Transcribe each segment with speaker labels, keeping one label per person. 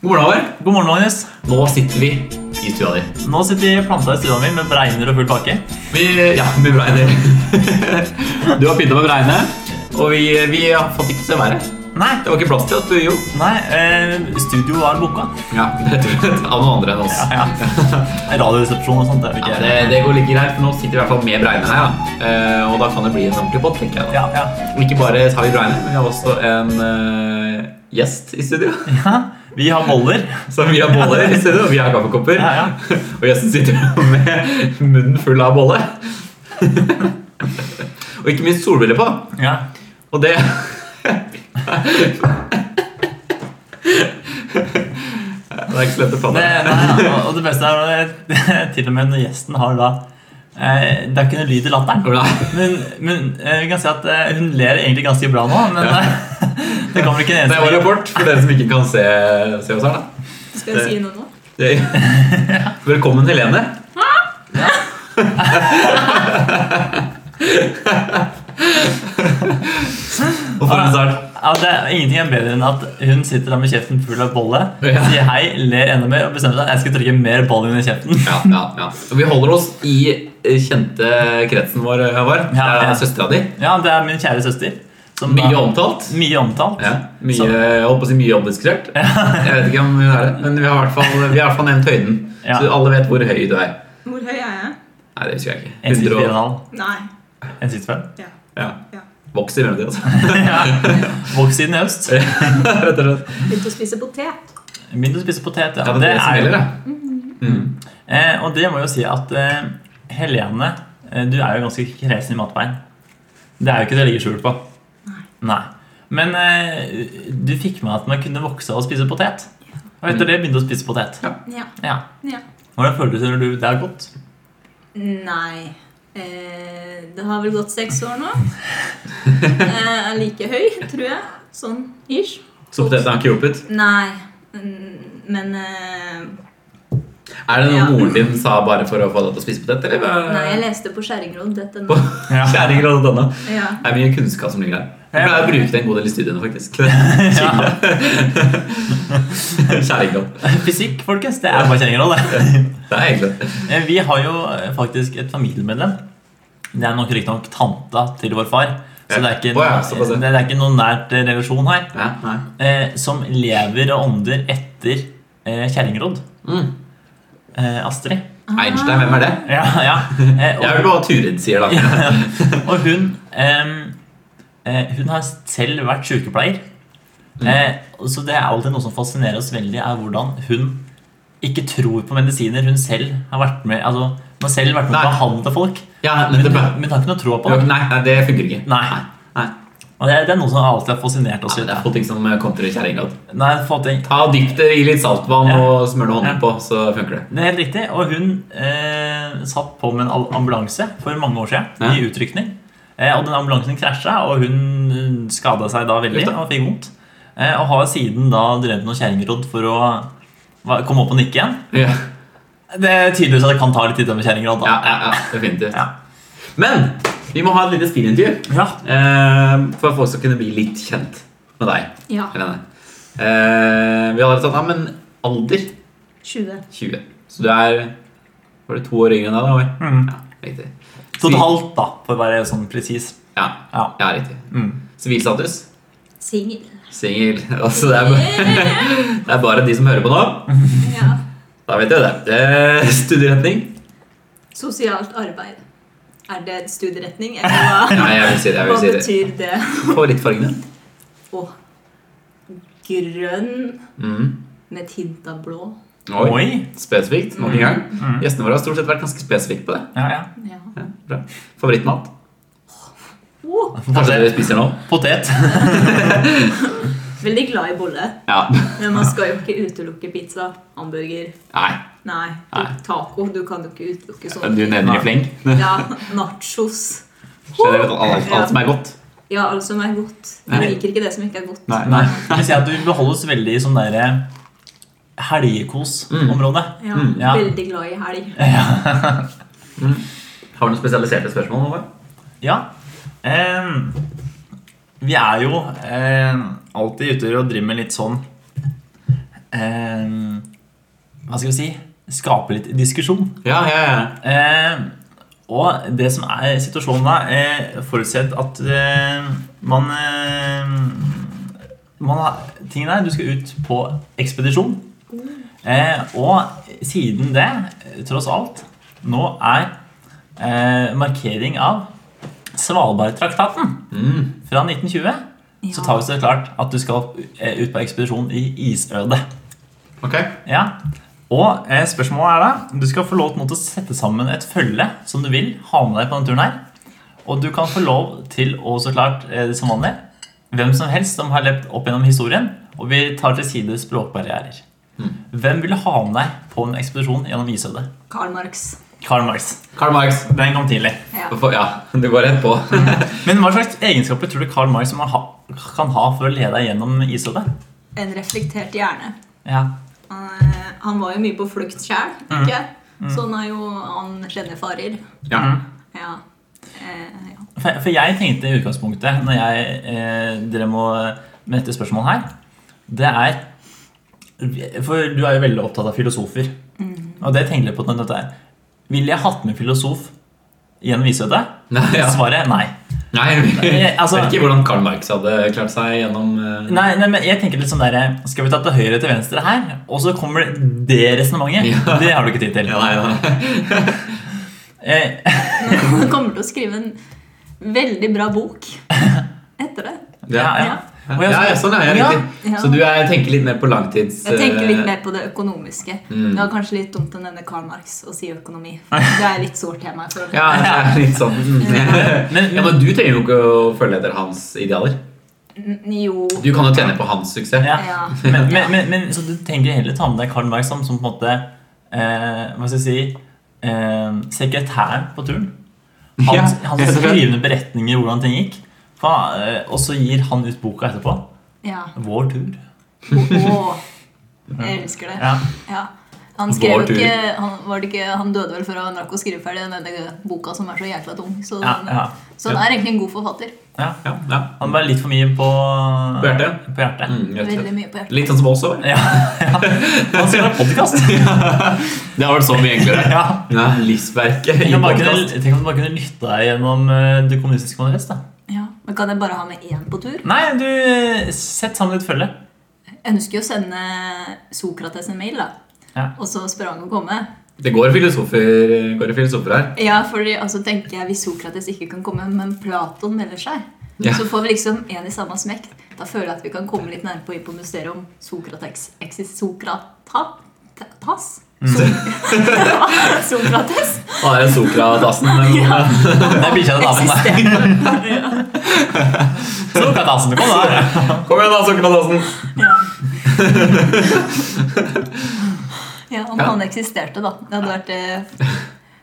Speaker 1: God morgen, Håvard.
Speaker 2: God morgen, Magnus.
Speaker 1: Nå sitter vi i stua di.
Speaker 2: Nå sitter vi planta i stua mi med bregner og full pakke.
Speaker 1: Vi, ja, vi bregner. du har pynta med bregne, og vi, vi har fått ikke se været.
Speaker 2: Nei,
Speaker 1: Det var ikke plass til at du jo
Speaker 2: nei, eh, studio var booka.
Speaker 1: Ja, rett og slett av noen andre enn oss.
Speaker 2: Ja, ja. Radioresepsjon og sånt. Det
Speaker 1: Ja,
Speaker 2: er ikke
Speaker 1: det, det går litt greit, for nå sitter vi i hvert fall med bregne her. Da. Eh, og da kan det bli en ordentlig pott, tenker jeg.
Speaker 2: Ja,
Speaker 1: da.
Speaker 2: ja.
Speaker 1: Ikke bare har vi bregne, men vi har også en eh, gjest i studio.
Speaker 2: ja. Vi har boller.
Speaker 1: Så vi har boller i studio, og vi har kaffekopper.
Speaker 2: Ja, ja.
Speaker 1: Og gjesten sitter med munnen full av bolle. og ikke minst solbriller på.
Speaker 2: Ja.
Speaker 1: Og det Det er ikke så lett å
Speaker 2: Det,
Speaker 1: fatte.
Speaker 2: nei, ja. Og det beste er at til og med når gjesten har da eh, Det er ikke noe lyd i latteren.
Speaker 1: Nei.
Speaker 2: Men, men eh, vi kan si at eh, hun ler egentlig ganske bra nå, men eh, det kan vel ikke en
Speaker 1: Det var
Speaker 2: eneste
Speaker 1: rapport for dere som ikke kan se, se oss her. da
Speaker 3: Skal jeg si noe nå?
Speaker 1: Det- Velkommen, Helene. Og for en start.
Speaker 2: Ja, det er Ingenting er bedre enn at hun sitter der med kjeften full av bolle,
Speaker 1: Ja.
Speaker 2: sier hei, ler enda mer og bestemmer seg at jeg skal trykke mer bolle under kjeften.
Speaker 1: Ja, ja, ja. Og vi holder oss i eh, kjente kretsen vår, Håvard. Det
Speaker 2: Ja, ja.
Speaker 1: er Søstera di.
Speaker 2: Ja, det er min kjære søster. som da-
Speaker 1: Mye omtalt.
Speaker 2: Mye omtalt.
Speaker 1: Ja, mye,
Speaker 2: Så-
Speaker 1: jeg holdt på å si mye omdiskutert. Jeg vet ikke om hun er det, men vi har i hvert fall, vi har i hvert fall nevnt høyden.
Speaker 2: Ja.
Speaker 1: Så alle vet hvor høy du er.
Speaker 3: Hvor høy er jeg?
Speaker 1: Nei, det husker jeg ikke. 100 og-
Speaker 2: 1,64,5.
Speaker 3: Nei.
Speaker 2: 1,65.
Speaker 3: Ja.
Speaker 1: ja.
Speaker 3: Ja.
Speaker 1: Vokser i mellomtiden, altså.
Speaker 2: Ja. Vokst siden i høst.
Speaker 1: Rett og slett.
Speaker 3: Begynte å spise potet.
Speaker 2: Begynte å spise potet.
Speaker 1: Ja, det er det som gjelder, da. Mm.
Speaker 2: Eh, og det må jo si at eh, Helene, eh, du er jo ganske kresen i matveien. Det er jo ikke det jeg ligger skjul på. Nei. Men eh, du fikk med at man kunne vokse av å spise potet. Og
Speaker 1: Mm.
Speaker 2: etter det begynte du å spise potet.
Speaker 3: Ja.
Speaker 2: Ja.
Speaker 3: ja.
Speaker 2: Hvordan føler du det når du det er godt?
Speaker 3: Nei. Eh, det har vel gått seks år nå. Eh, Jeg er like høy, tror jeg. Sånn ish.
Speaker 1: Så poteten har ikke hjulpet.
Speaker 3: Nei. Mm, Men eh,
Speaker 1: Er det noe
Speaker 3: Ja.
Speaker 1: moren din sa bare for å få deg til å spise potet? Eller?
Speaker 3: Nei, jeg leste på skjæringrodd.no.
Speaker 1: På- Kjæringer og denne.
Speaker 3: Ja.
Speaker 1: Det er mye kunnskap som ligger der. Jeg pleier å bruke det en god del i studiene, faktisk.
Speaker 2: Ja.
Speaker 1: Kjæringer.
Speaker 2: Fysikk, folkens. Det er bare kjerringråd, det.
Speaker 1: Det er egentlig
Speaker 2: Eh, Vi har jo eh, faktisk et familiemedlem. Det er nok riktignok tanta til vår far. Så det er ikke,
Speaker 1: Å ja,
Speaker 2: noe,
Speaker 1: såpass, ja.
Speaker 2: det er ikke noen nært eh, relasjon her.
Speaker 1: ja, nei.
Speaker 2: eh, som lever og ånder etter eh, kjerringråd.
Speaker 1: Mm.
Speaker 2: Eh, Astrid.
Speaker 1: Einstein, hvem er det?
Speaker 2: Ja, ja. Eh,
Speaker 1: Jeg vil
Speaker 2: og,
Speaker 1: bare hva Turid sier, da.
Speaker 2: og hun ehm, eh, Hun har selv vært sykepleier.
Speaker 1: Mm.
Speaker 2: Eh, og så det er alltid noe som fascinerer oss veldig, er hvordan hun ikke tror på medisiner. Hun selv har vært med Altså, hun har selv vært med
Speaker 1: Nei.
Speaker 2: å behandle folk.
Speaker 1: Ja,
Speaker 2: Men hun,
Speaker 1: nettopp.
Speaker 2: men hun har ikke noe tro på
Speaker 1: Jo,
Speaker 2: det.
Speaker 1: Nei, nei, det funker ikke.
Speaker 2: Nei.
Speaker 1: Nei.
Speaker 2: Og det, det er noe som alltid har fascinert oss.
Speaker 1: Altså, det er få ting som kontrer kjerringrad.
Speaker 2: Nei, få ting.
Speaker 1: Ta dypp det i litt saltvann
Speaker 2: Ja.
Speaker 1: og smør noe honning
Speaker 2: Ja.
Speaker 1: på, så funker det.
Speaker 2: Det er helt riktig. Og hun eh, satt på med en al- ambulanse for mange år siden
Speaker 1: Ja.
Speaker 2: i utrykning. Eh, og den ambulansen krasja, og hun skada seg da veldig
Speaker 1: Uff da.
Speaker 2: og fikk vondt. Eh, og har siden da drevet noe kjerringråd for å hva- komme opp og nikke igjen.
Speaker 1: Ja,
Speaker 2: Det er tydeligvis at det kan ta litt tid med kjerringråd.
Speaker 1: ja,
Speaker 2: da.
Speaker 1: ja, ja definitivt.
Speaker 2: Ja.
Speaker 1: Men vi må ha et lite spillintervju
Speaker 2: Ja.
Speaker 1: eh, for at folk skal kunne bli litt kjent med deg.
Speaker 3: ja.
Speaker 1: Helene. Eh, vi har allerede tatt av, men alder
Speaker 3: 20.
Speaker 1: 20. Så du er Var det to år yngre enn deg? da, Håvard?
Speaker 2: Mm.
Speaker 1: Ja, riktig.
Speaker 2: Totalt, da, for å være sånn presis.
Speaker 1: Ja,
Speaker 2: Ja.
Speaker 1: ja, riktig.
Speaker 2: Mm.
Speaker 1: Sivilstatus?
Speaker 3: Singel.
Speaker 1: Singel. Altså, det, er bare- det er bare de som hører på nå.
Speaker 3: Ja.
Speaker 1: Da vet dere det. Eh, studieretning?
Speaker 3: Sosialt arbeid. Er det studieretning, eller hva,
Speaker 1: Nei, jeg vil si det. jeg
Speaker 3: hva
Speaker 1: vil si det.
Speaker 3: betyr det?
Speaker 1: Favorittfargene?
Speaker 3: Å, grønn
Speaker 1: Mm.
Speaker 3: med et hint av blå.
Speaker 1: Oi.
Speaker 2: Oi.
Speaker 1: Spesifikt. Nok en gang.
Speaker 2: Mm.
Speaker 1: Gjestene våre har stort sett vært ganske spesifikke på det.
Speaker 2: Ja, ja.
Speaker 3: Ja.
Speaker 1: Ja, bra. Favorittmat?
Speaker 3: Å,
Speaker 1: Kanskje dere
Speaker 2: Potet.
Speaker 1: spiser nå?
Speaker 2: Potet.
Speaker 3: veldig glad i bolle,
Speaker 1: Ja.
Speaker 3: men man skal jo ikke utelukke pizza, hamburger
Speaker 1: Nei.
Speaker 3: Nei,
Speaker 1: Nei.
Speaker 3: taco. Du kan jo ikke utelukke
Speaker 1: Du
Speaker 3: sånne.
Speaker 1: nevner i fleng.
Speaker 3: Ja, nachos.
Speaker 1: Generelt alt, alt som er godt.
Speaker 3: Ja, alt som er godt.
Speaker 1: Nei.
Speaker 3: Jeg liker ikke det som ikke er godt.
Speaker 1: Nei.
Speaker 2: Nei. Jeg vil si at du beholder oss veldig i sånn derre helgekos-område.
Speaker 3: Ja,
Speaker 1: Mm.
Speaker 2: Ja.
Speaker 3: Veldig glad i helg.
Speaker 1: Har du noen spesialiserte spørsmål? Håvard?
Speaker 2: Ja. Ehm, vi er jo ehm, alltid ute og driver med litt sånn eh, Hva skal vi si? Skape litt diskusjon.
Speaker 1: Ja, ja, ja.
Speaker 2: Eh, og det som er situasjonen da, eh, forutsett at eh, man, eh, man har, Tingen er, du skal ut på ekspedisjon. Eh, og siden det, eh, tross alt, nå er eh, markering av Svalbardtraktaten
Speaker 1: Mm.
Speaker 2: fra 1920. Så tar vi så klart at du skal eh, ut på ekspedisjon i isødet.
Speaker 1: Ok.
Speaker 2: Ja. Og eh, spørsmålet er da Du skal få lov til å sette sammen et følge som du vil ha med deg på denne turen. her Og du kan få lov til å så klart eh, som vanlig hvem som helst som har løpt opp gjennom historien. Og vi tar til side språkbarrierer. Hvem vil du ha med deg på en ekspedisjon gjennom isødet?
Speaker 3: Karl Marx.
Speaker 2: Karl Marx.
Speaker 1: Karl Marx.
Speaker 2: Den kom tidlig.
Speaker 3: Ja.
Speaker 1: For- Ja, du går rett på.
Speaker 2: Men hva slags egenskaper tror du Karl Marx må ha- kan ha for å lede deg gjennom isødet?
Speaker 3: En reflektert hjerne.
Speaker 2: Ja.
Speaker 3: Han, eh, han var jo mye på flukt sjøl, ikke?
Speaker 1: Mm.
Speaker 3: Så han er jo Han kjenner farer.
Speaker 1: Ja.
Speaker 3: Ja. Eh, ja.
Speaker 2: For, for jeg tenkte i utgangspunktet, når jeg eh, drev med, med dette spørsmålet her, det er For du er jo veldig opptatt av filosofer.
Speaker 1: Mm.
Speaker 2: Og det tenkte jeg på når dette er. Ville jeg hatt med filosof gjennom Isødet?
Speaker 1: Nei, ja.
Speaker 2: Svaret er nei.
Speaker 1: Nei, vi
Speaker 2: Nei, altså-
Speaker 1: vet ikke hvordan Karl Marx hadde klart seg gjennom eh,
Speaker 2: nei. Nei, men jeg tenker litt sånn der, Skal vi ta til høyre til venstre her? Og så kommer det, det resonnementet.
Speaker 1: Ja.
Speaker 2: Det har du ikke tid til.
Speaker 1: ja, nei, nei.
Speaker 2: Eh,
Speaker 3: Men han kommer til å skrive en veldig bra bok etter det.
Speaker 1: Ja,
Speaker 2: Ja,
Speaker 1: ja.
Speaker 3: Ja.
Speaker 2: Og jeg-
Speaker 1: ja, ja, sånn er det
Speaker 2: Ja.
Speaker 1: riktig.
Speaker 3: Ja.
Speaker 1: Så du er, tenker litt mer på langtids...
Speaker 3: Jeg tenker
Speaker 1: eh,
Speaker 3: litt mer på det økonomiske.
Speaker 1: Mm.
Speaker 3: Det var kanskje litt dumt å nevne Karl Marx og si økonomi. Det er litt sårt tema. jeg føler.
Speaker 1: Ja, det er litt sånn.
Speaker 2: men, men,
Speaker 1: Ja, men du trenger jo ikke å følge etter hans idealer.
Speaker 3: N- Jo
Speaker 1: Du kan jo tjene på hans suksess.
Speaker 2: ja.
Speaker 3: Ja.
Speaker 2: men, men, men, men så du tenker heller ta med deg Karl Marx som, som på en måte eh, Hva skal jeg si eh, Sekretæren på turen. Han,
Speaker 1: Ja,
Speaker 2: han
Speaker 1: helt
Speaker 2: som
Speaker 1: og slett.
Speaker 2: skriver ned beretninger hvordan ting gikk. Fa- eh, og så gir han ut boka etterpå.
Speaker 3: ja.
Speaker 2: 'Vår tur'.
Speaker 3: Å, jeg elsker det.
Speaker 2: Ja.
Speaker 3: Ja. Han skrev
Speaker 1: Vår
Speaker 3: jo
Speaker 1: tur.
Speaker 3: ikke han, var det ikke, han døde vel før han rakk å skrive ferdig denne boka som er så jækla tung. Så,
Speaker 2: Ja, ja.
Speaker 3: så han er egentlig en god forfatter.
Speaker 2: Ja.
Speaker 1: Ja, ja.
Speaker 2: Han var litt for mye på
Speaker 1: På hjertet?
Speaker 2: På hjertet.
Speaker 1: Mm, rett og slett.
Speaker 3: Veldig mye på hjertet.
Speaker 1: Litt sånn som oss òg.
Speaker 2: Ja, ja. Han skal ha podkast!
Speaker 1: Det har vært så mye enklere.
Speaker 2: Ja.
Speaker 1: Ja, livsverket
Speaker 2: Tenk
Speaker 1: i
Speaker 2: om man bare
Speaker 1: podcast.
Speaker 2: kunne, tenk om man bare kunne lytte deg gjennom eh, det kommunistiske manifest. da.
Speaker 3: Ja. Men kan jeg bare ha med én på tur?
Speaker 2: Nei, du eh, Sett sammen et følge.
Speaker 3: Jeg ønsker jo å sende Sokrates en mail, da.
Speaker 2: Ja.
Speaker 3: Og så spør han å komme.
Speaker 1: Det går filosofer, går det filosofer her.
Speaker 3: Ja, fordi altså, tenker jeg Hvis Sokrates ikke kan komme, men Platon melder seg,
Speaker 1: Ja.
Speaker 3: så får vi liksom en i samme smekk. Da føler jeg at vi kan komme litt nærmere på inn på mysteriet om Sokrates eksis Sokratas?
Speaker 2: Mm.
Speaker 3: So- Sokrates?
Speaker 1: Han er en Sokratassen.
Speaker 3: Ja.
Speaker 1: men-
Speaker 2: Det er bikkja til damen. da.
Speaker 3: Eksisterer.
Speaker 2: Så kan dansen komme, da.
Speaker 1: Kom igjen, da, Sokratassen!
Speaker 3: Ja. ja, om han eksisterte, da. Det hadde vært eh,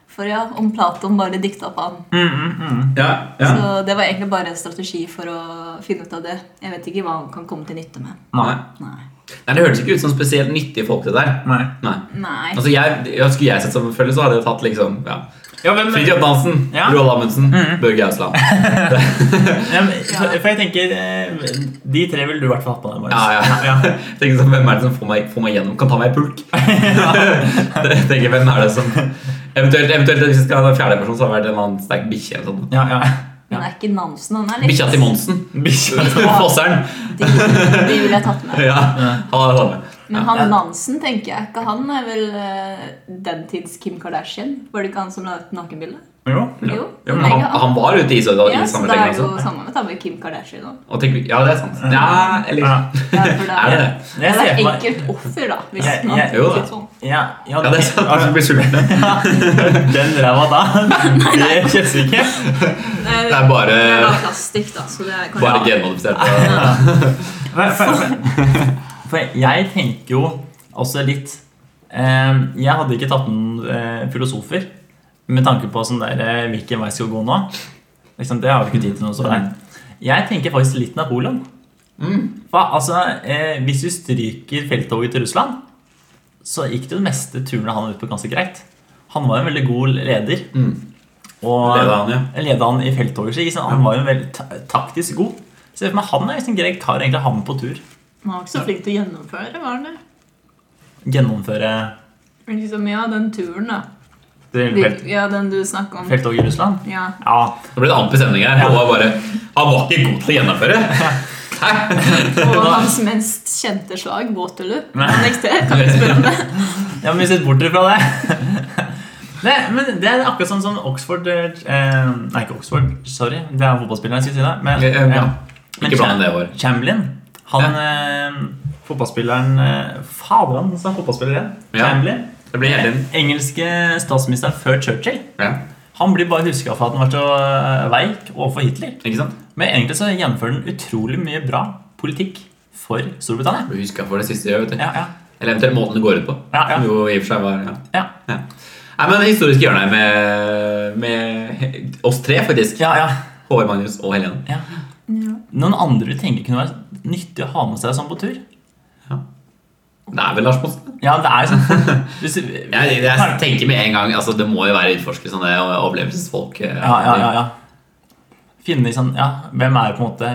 Speaker 3: For ja, om Platon bare dikta opp han.
Speaker 2: Mm,
Speaker 1: Ja, ja.
Speaker 3: Så det var egentlig bare en strategi for å finne ut av det. Jeg vet ikke hva han kan komme til nytte med.
Speaker 1: Nei.
Speaker 3: Nei.
Speaker 1: Nei, Det hørtes ikke ut som spesielt nyttige folk, det der.
Speaker 2: Nei.
Speaker 1: Nei.
Speaker 3: Nei.
Speaker 1: Altså, jeg, ja, Skulle jeg sett som følge, så hadde jeg tatt liksom ja.
Speaker 2: Ja, men,
Speaker 1: Fridtjof Nansen,
Speaker 2: Ja.
Speaker 1: Roald Amundsen, Børge Ausland.
Speaker 2: ja, men, for, for jeg tenker eh, De tre ville du i hvert fall hatt på deg. Marius.
Speaker 1: Ja, ja.
Speaker 2: Ja.
Speaker 1: Tenk sånn, Hvem er det som får meg, får meg gjennom? Kan ta meg i pulk? Jeg tenker, hvem er det som Eventuelt, eventuelt hvis jeg skal ha en fjerde person, så har det vært en eller annen sterk bikkje. eller sånn.
Speaker 2: Ja, ja.
Speaker 3: Men det er ikke Nansen. Han er litt
Speaker 1: Bikkja til Monsen.
Speaker 2: Bikkja.
Speaker 1: Fosseren.
Speaker 3: De, de ville jeg tatt med.
Speaker 1: Ja, han er sånn.
Speaker 3: Men han
Speaker 2: Ja.
Speaker 3: Nansen tenker jeg ikke. Han er vel eh, den tids Kim Kardashian? Var det ikke han som la ut nakenbildet?
Speaker 2: Jo.
Speaker 3: Jo.
Speaker 1: Ja, men han, han var ute i Isøya
Speaker 3: ja,
Speaker 1: i
Speaker 3: så
Speaker 1: samme
Speaker 3: det
Speaker 1: slengen
Speaker 3: er jo
Speaker 1: også.
Speaker 3: samme med tabbe Kim Kardashian òg.
Speaker 1: Og tenk, ja, det er sant. Ja, eller
Speaker 2: Ja.
Speaker 3: Ja, for det
Speaker 1: Er det det?
Speaker 3: Det
Speaker 2: Jeg
Speaker 3: er
Speaker 2: ser
Speaker 3: et
Speaker 2: for meg
Speaker 3: enkelt offer, da. Hvis
Speaker 2: Jeg-
Speaker 3: man
Speaker 2: jeg-
Speaker 3: tenker
Speaker 1: Jo da.
Speaker 3: sånn.
Speaker 2: ja, ja, Altså,
Speaker 1: Ja, det er sant. Jeg blir sulten.
Speaker 2: Den ræva da, det kjennes ikke.
Speaker 3: Det
Speaker 1: Det er bare,
Speaker 3: det er bare plastikk, da. Så det er kanskje
Speaker 1: bare genmodifisert.
Speaker 2: For, for, for, for jeg tenker jo også litt eh, Jeg hadde ikke tatt med eh, filosofer med tanke på sånn der, eh, hvilken vei skal vi gå nå. Liksom, det har vi ikke tid til nå. Så der. Jeg tenker faktisk litt Napoleon. For, altså, eh, hvis du stryker felttoget til Russland, så gikk det jo det meste turene han ut på ganske greit. Han var en veldig god leder. Og
Speaker 1: Ledet han, ja.
Speaker 2: ledet han i felttoget. så ikke sant? Han var jo veldig ta taktisk god. Så jeg ser for meg han er liksom grei kar sånn egentlig å ha med på tur.
Speaker 3: Man var ikke så flink til å gjennomføre, var han det?
Speaker 2: gjennomføre
Speaker 3: Men Liksom, ja, den turen, da.
Speaker 2: det
Speaker 3: De-
Speaker 2: felt,
Speaker 3: Ja, den du snakka om.
Speaker 2: felttoget i Russland?
Speaker 3: Ja.
Speaker 2: Ja.
Speaker 1: Nå ble det amper stemning her. Han var bare Han var ikke god til å gjennomføre!
Speaker 3: Og hans mest kjente slag, Waterloo.
Speaker 2: Nei.
Speaker 3: Annex det, kan vi spørre om det?
Speaker 2: Ja, men vi sett bort fra det. det. Men det er akkurat sånn som Oxford eh, Nei, ikke Oxford, sorry. Det er fotballspilleren, skal jeg si det. Men,
Speaker 1: Ja, ja.
Speaker 2: men
Speaker 1: Ikke bland
Speaker 2: Cham-
Speaker 1: det vår.
Speaker 2: Chamberlain, han eh, fotballspilleren eh, Fader, han sa fotballspiller igjen.
Speaker 1: Ja.
Speaker 2: Chamberlain.
Speaker 1: Det blir hele tiden.
Speaker 2: Engelske statsministeren før Churchill.
Speaker 1: Ja,
Speaker 2: Han blir bare huska for at han var så eh, veik overfor Hitler.
Speaker 1: ikke sant?
Speaker 2: Men egentlig så gjennomfører han utrolig mye bra politikk for Storbritannia.
Speaker 1: Du huska for det siste jeg gjør, vet du.
Speaker 2: Ja, ja.
Speaker 1: Eller eventuelt måten det går ut på.
Speaker 2: Ja, ja.
Speaker 1: Som jo i og for seg var ja.
Speaker 2: Ja.
Speaker 1: Ja. Nei, men historisk hjørne med, med oss tre, faktisk.
Speaker 2: Ja, ja.
Speaker 1: Håvard, Magnus og Helene.
Speaker 2: Ja. Noen andre du tenker kunne være nyttig å ha med seg sånn på tur?
Speaker 1: Det er vel Lars Monsen?
Speaker 2: Ja, det er sånn Hvis du,
Speaker 1: Jeg, jeg tenker med en gang altså, Det må jo være utforskere, sånne overlevelsesfolk. eh,
Speaker 2: ja, ja, ja, ja. Finne i sånn Ja, hvem er på en måte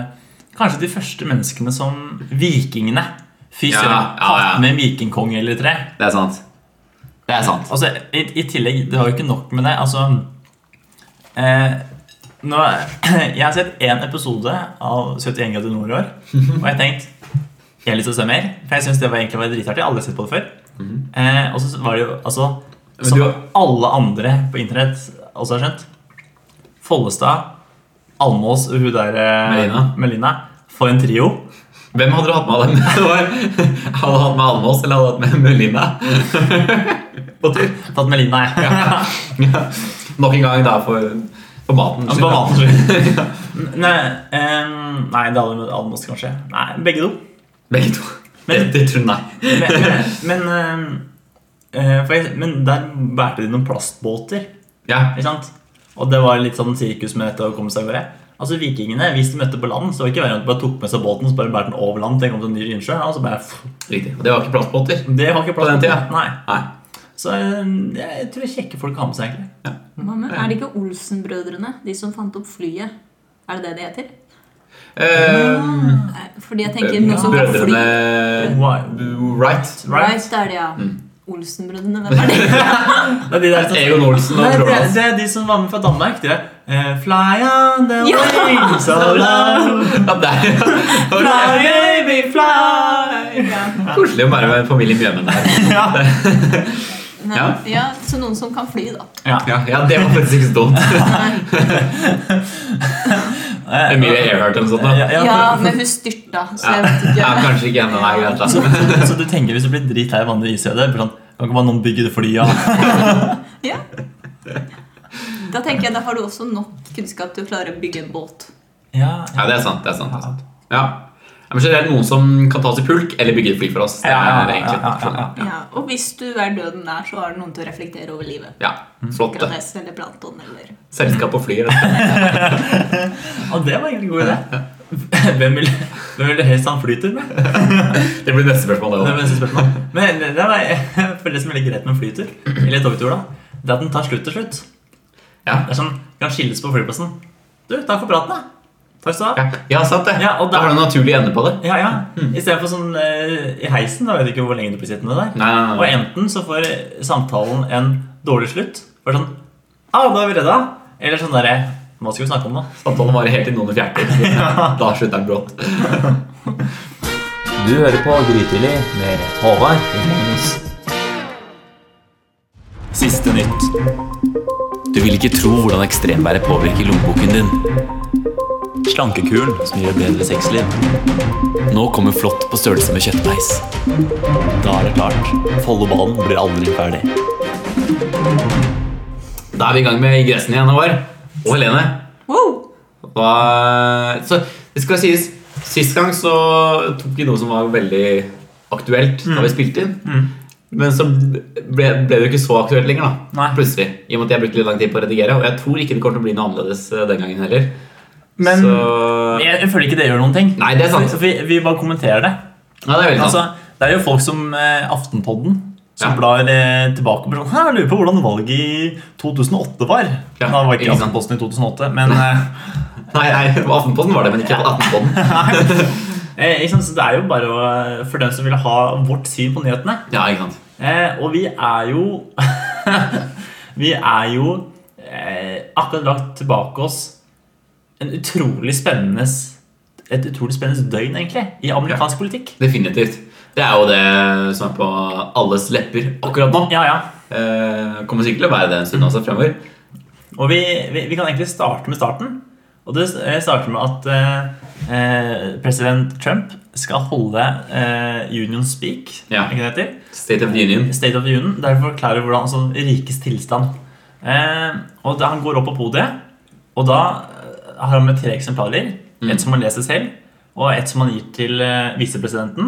Speaker 2: Kanskje de første menneskene som Vikingene. Fy
Speaker 1: Ja,
Speaker 2: søren,
Speaker 1: ja, ja.
Speaker 2: hatt med en vikingkong eller tre.
Speaker 1: Det er sant. Det er sant.
Speaker 2: Altså, i, I tillegg, det var jo ikke nok med det. Altså eh, nå, Jeg har sett én episode av 71 grader nord i år, og jeg har tenkt Jeg har lyst til å se mer, for jeg syns det var egentlig var dritartig. Alle har sett på det før. eh, og så var det jo altså
Speaker 1: Mhm. Men
Speaker 2: Som
Speaker 1: du-
Speaker 2: alle andre på internett også har skjønt Follestad, Almås og hun der eh,
Speaker 1: Melina.
Speaker 2: Melina. For en trio.
Speaker 1: Hvem hadde du hatt med av dem? Det var- hadde du hatt med Almås eller hadde du hatt med Melina? På tur.
Speaker 2: Tatt Melina, jeg.
Speaker 1: Ja. Nok en gang, da, for, for maten.
Speaker 2: Ja, for matens skyld. Nei, ehm, nei, det hadde Almås kanskje. Nei, begge to.
Speaker 1: Begge to.
Speaker 2: Men-
Speaker 1: det, det tror jeg nei.
Speaker 2: Men, men, ehm, eh, for jeg, men der bærte de noen plastbåter,
Speaker 1: Ja.
Speaker 2: ikke sant? Og det var litt sånn sirkus med dette å komme seg over det. Altså Vikingene, hvis de møtte på land, så var det ikke verre enn at de bare tok med seg båten så bare bærte den over land til den kom til en ny innsjø. Og så bare, pff,
Speaker 1: Riktig. Og det var ikke plastbåter.
Speaker 2: det var ikke
Speaker 1: På den
Speaker 2: plastbåter.
Speaker 1: tida?
Speaker 2: Nei.
Speaker 1: Nei.
Speaker 2: Så ehm, jeg tror det er kjekke folk har med seg, egentlig.
Speaker 3: Hva med- Er det ikke Olsen-brødrene, de som fant opp flyet? Er det det de heter?
Speaker 1: Ehm,
Speaker 3: Nei, Fordi jeg tenker noe sånn som kan fly.
Speaker 1: Brødrene
Speaker 2: Why?
Speaker 1: Wright.
Speaker 2: Right?
Speaker 3: Right, det er det, ja. Olsen-brødrene, hvem er det?
Speaker 2: Det er sånn- de der som
Speaker 1: Egon Olsen og
Speaker 2: Nei, det,
Speaker 1: Roland.
Speaker 2: det er de som var med fra Danmark. De der. eh, fly on the
Speaker 3: Ja!
Speaker 2: wings of love.
Speaker 1: Ja, det
Speaker 2: Fly,
Speaker 1: er
Speaker 2: baby, fly.
Speaker 3: Ja.
Speaker 1: koselig å være med familien Bjørmen der.
Speaker 2: Ja.
Speaker 1: Ja.
Speaker 3: Nei, ja, så noen som kan fly, da.
Speaker 1: Ja, ja, det var faktisk ikke så dumt. Emilie Earhart eller noe sånt. da.
Speaker 2: Ja,
Speaker 3: Ja, men hun styrta, så jeg vet
Speaker 1: Ja,
Speaker 3: ikke.
Speaker 1: kanskje ikke ennå. Nei, greit,
Speaker 2: Så,
Speaker 1: da.
Speaker 2: så du tenker hvis du blir dritlei av andre isøyder blir sånn, Kan ikke bare noen bygge det flyet? av?»
Speaker 3: Ja. Da tenker jeg, da har du også nok kunnskap til å klare å bygge en båt.
Speaker 2: Ja,
Speaker 1: Ja, det er sant. det er sant, det er sant. Ja. Ja, Men generelt noen som kan ta oss i pulk eller bygge et fly for oss. Det
Speaker 2: Ja, ja,
Speaker 1: er
Speaker 2: ja,
Speaker 1: egentlig sånn,
Speaker 2: ja, ja, ja.
Speaker 3: Ja, og hvis du er døden nær, så har du noen til å reflektere over livet.
Speaker 1: Ja, Flott. det.
Speaker 3: Granes eller Planton eller
Speaker 1: Selskap på fly. rett og slett.
Speaker 2: Og det var egentlig en god idé. Hvem vil, hvem vil du helst ha en flytur med?
Speaker 1: Det blir neste spørsmål.
Speaker 2: Det
Speaker 1: det
Speaker 2: var neste spørsmål. Men det, det, var, for det som er litt greit med en flytur, eller togtur, da, det er at den tar slutt til slutt.
Speaker 1: Ja.
Speaker 2: Det er sånn, kan skilles på flyplassen. Du, takk for praten, da. Takk skal du ha.
Speaker 1: også. Ja, Mm. sant det.
Speaker 2: Ja, og
Speaker 1: Da
Speaker 2: da-
Speaker 1: har du en naturlig ende på det.
Speaker 2: Ja, ja. Istedenfor sånn eh, i heisen, da vet du ikke hvor lenge du blir sittende der.
Speaker 1: Nei, nei,
Speaker 2: Og
Speaker 1: nei.
Speaker 2: enten så får samtalen en dårlig slutt, bare sånn ah, da er vi redda. Eller sånn derre Hva skal vi snakke om, da?
Speaker 1: Samtalen varer helt til noen fjerter. Da slutter den brått.
Speaker 2: Du hører på Grytidlig med Håvard Siste nytt.
Speaker 4: Du vil ikke tro hvordan ekstremværet påvirker lommeboken din. Slankekuren som gir bedre sexliv. Nå kommer flått på størrelse med kjøttmeis. Da er det klart. Follobanen blir aldri ferdig.
Speaker 1: Da er vi i gang med ingressen igjen, Håvard. Og Helene.
Speaker 3: Wow!
Speaker 1: Hva... Så det skal sies Sist gang så tok vi noe som var veldig aktuelt da
Speaker 2: Mm.
Speaker 1: vi spilte inn. Men så ble, ble det jo ikke så aktuelt lenger, da.
Speaker 2: Nei.
Speaker 1: Plutselig. I og med at jeg brukte litt lang tid på å redigere. Og jeg tror ikke det kommer til å bli noe annerledes eh, den gangen heller.
Speaker 2: Men
Speaker 1: så
Speaker 2: jeg, jeg føler ikke det gjør noen ting.
Speaker 1: Nei, det er sant.
Speaker 2: For, for vi, vi bare kommenterer det.
Speaker 1: Ja, det er veldig sant.
Speaker 2: Altså, det er jo folk som eh, Aftenpodden som
Speaker 1: Ja.
Speaker 2: blar eh, tilbake på sånn «Hæ, Jeg lurer på hvordan valget i 2008 var.
Speaker 1: Ja,
Speaker 2: Da var ikke
Speaker 1: ikke sant.
Speaker 2: Aftenposten i 2008, men eh,
Speaker 1: Nei, nei, på Aftenposten var det, men ikke på Aftenposten.
Speaker 2: eh, ikke sant, så det er jo bare å, for dem som vil ha vårt syn på nyhetene.
Speaker 1: Ja, ikke sant.
Speaker 2: Eh, og vi er jo Vi er jo eh, akkurat lagt tilbake oss en utrolig spennende s- et utrolig spennende døgn, egentlig, i amerikansk politikk.
Speaker 1: Definitivt. Det er jo det som er på alles lepper akkurat nå.
Speaker 2: Ja, ja.
Speaker 1: Eh, kommer sikkert til å være det en stund også fremover.
Speaker 2: Og vi, vi, vi kan egentlig starte med starten. Og det eh, starter med at eh, eh, president Trump skal holde eh, Union Speak.
Speaker 1: Ja.
Speaker 2: Ikke det heter?
Speaker 1: State of the Union.
Speaker 2: State of the Union. Der forklarer hvordan altså, rikes tilstand. Eh, og da Han går opp på podiet, og da eh, har han med tre eksemplarer.
Speaker 1: Mm.
Speaker 2: Et som han leser selv, og et som han gir til eh, visepresidenten.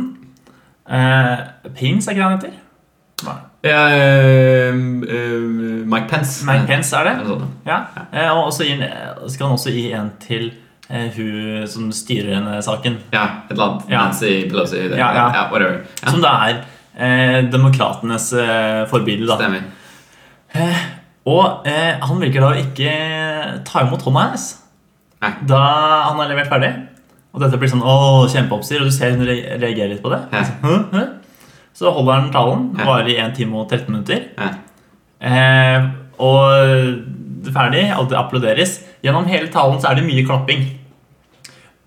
Speaker 2: Eh, Pins, er ikke det han heter? Nei.
Speaker 1: Ja, eh, eh, Mike Pence.
Speaker 2: Mike Pence er det.
Speaker 1: Er det sånn?
Speaker 2: Ja. eh, Og så gir, han- skal han også gi en til eh, hun som styrer denne saken.
Speaker 1: Ja, et eller annet.
Speaker 2: Ja.
Speaker 1: Nancy Pelosi. Det,
Speaker 2: Ja, ja.
Speaker 1: whatever. Ja,
Speaker 2: Som da er eh, demokratenes eh, forbilde. da.
Speaker 1: stemmer.
Speaker 2: Og eh, han virker da å ikke eh, ta imot hånda hennes
Speaker 1: Nei.
Speaker 2: da han har levert ferdig. Og dette blir sånn åh, kjempeoppstyr, og du ser hun re- reagerer litt på det.
Speaker 1: Ja.
Speaker 2: Hæ? Hæ? Så holder han talen,
Speaker 1: Ja.
Speaker 2: varer i 1 time og 13 minutter.
Speaker 1: Ja.
Speaker 2: Eh, og ferdig, alt applauderes. Gjennom hele talen så er det mye klapping.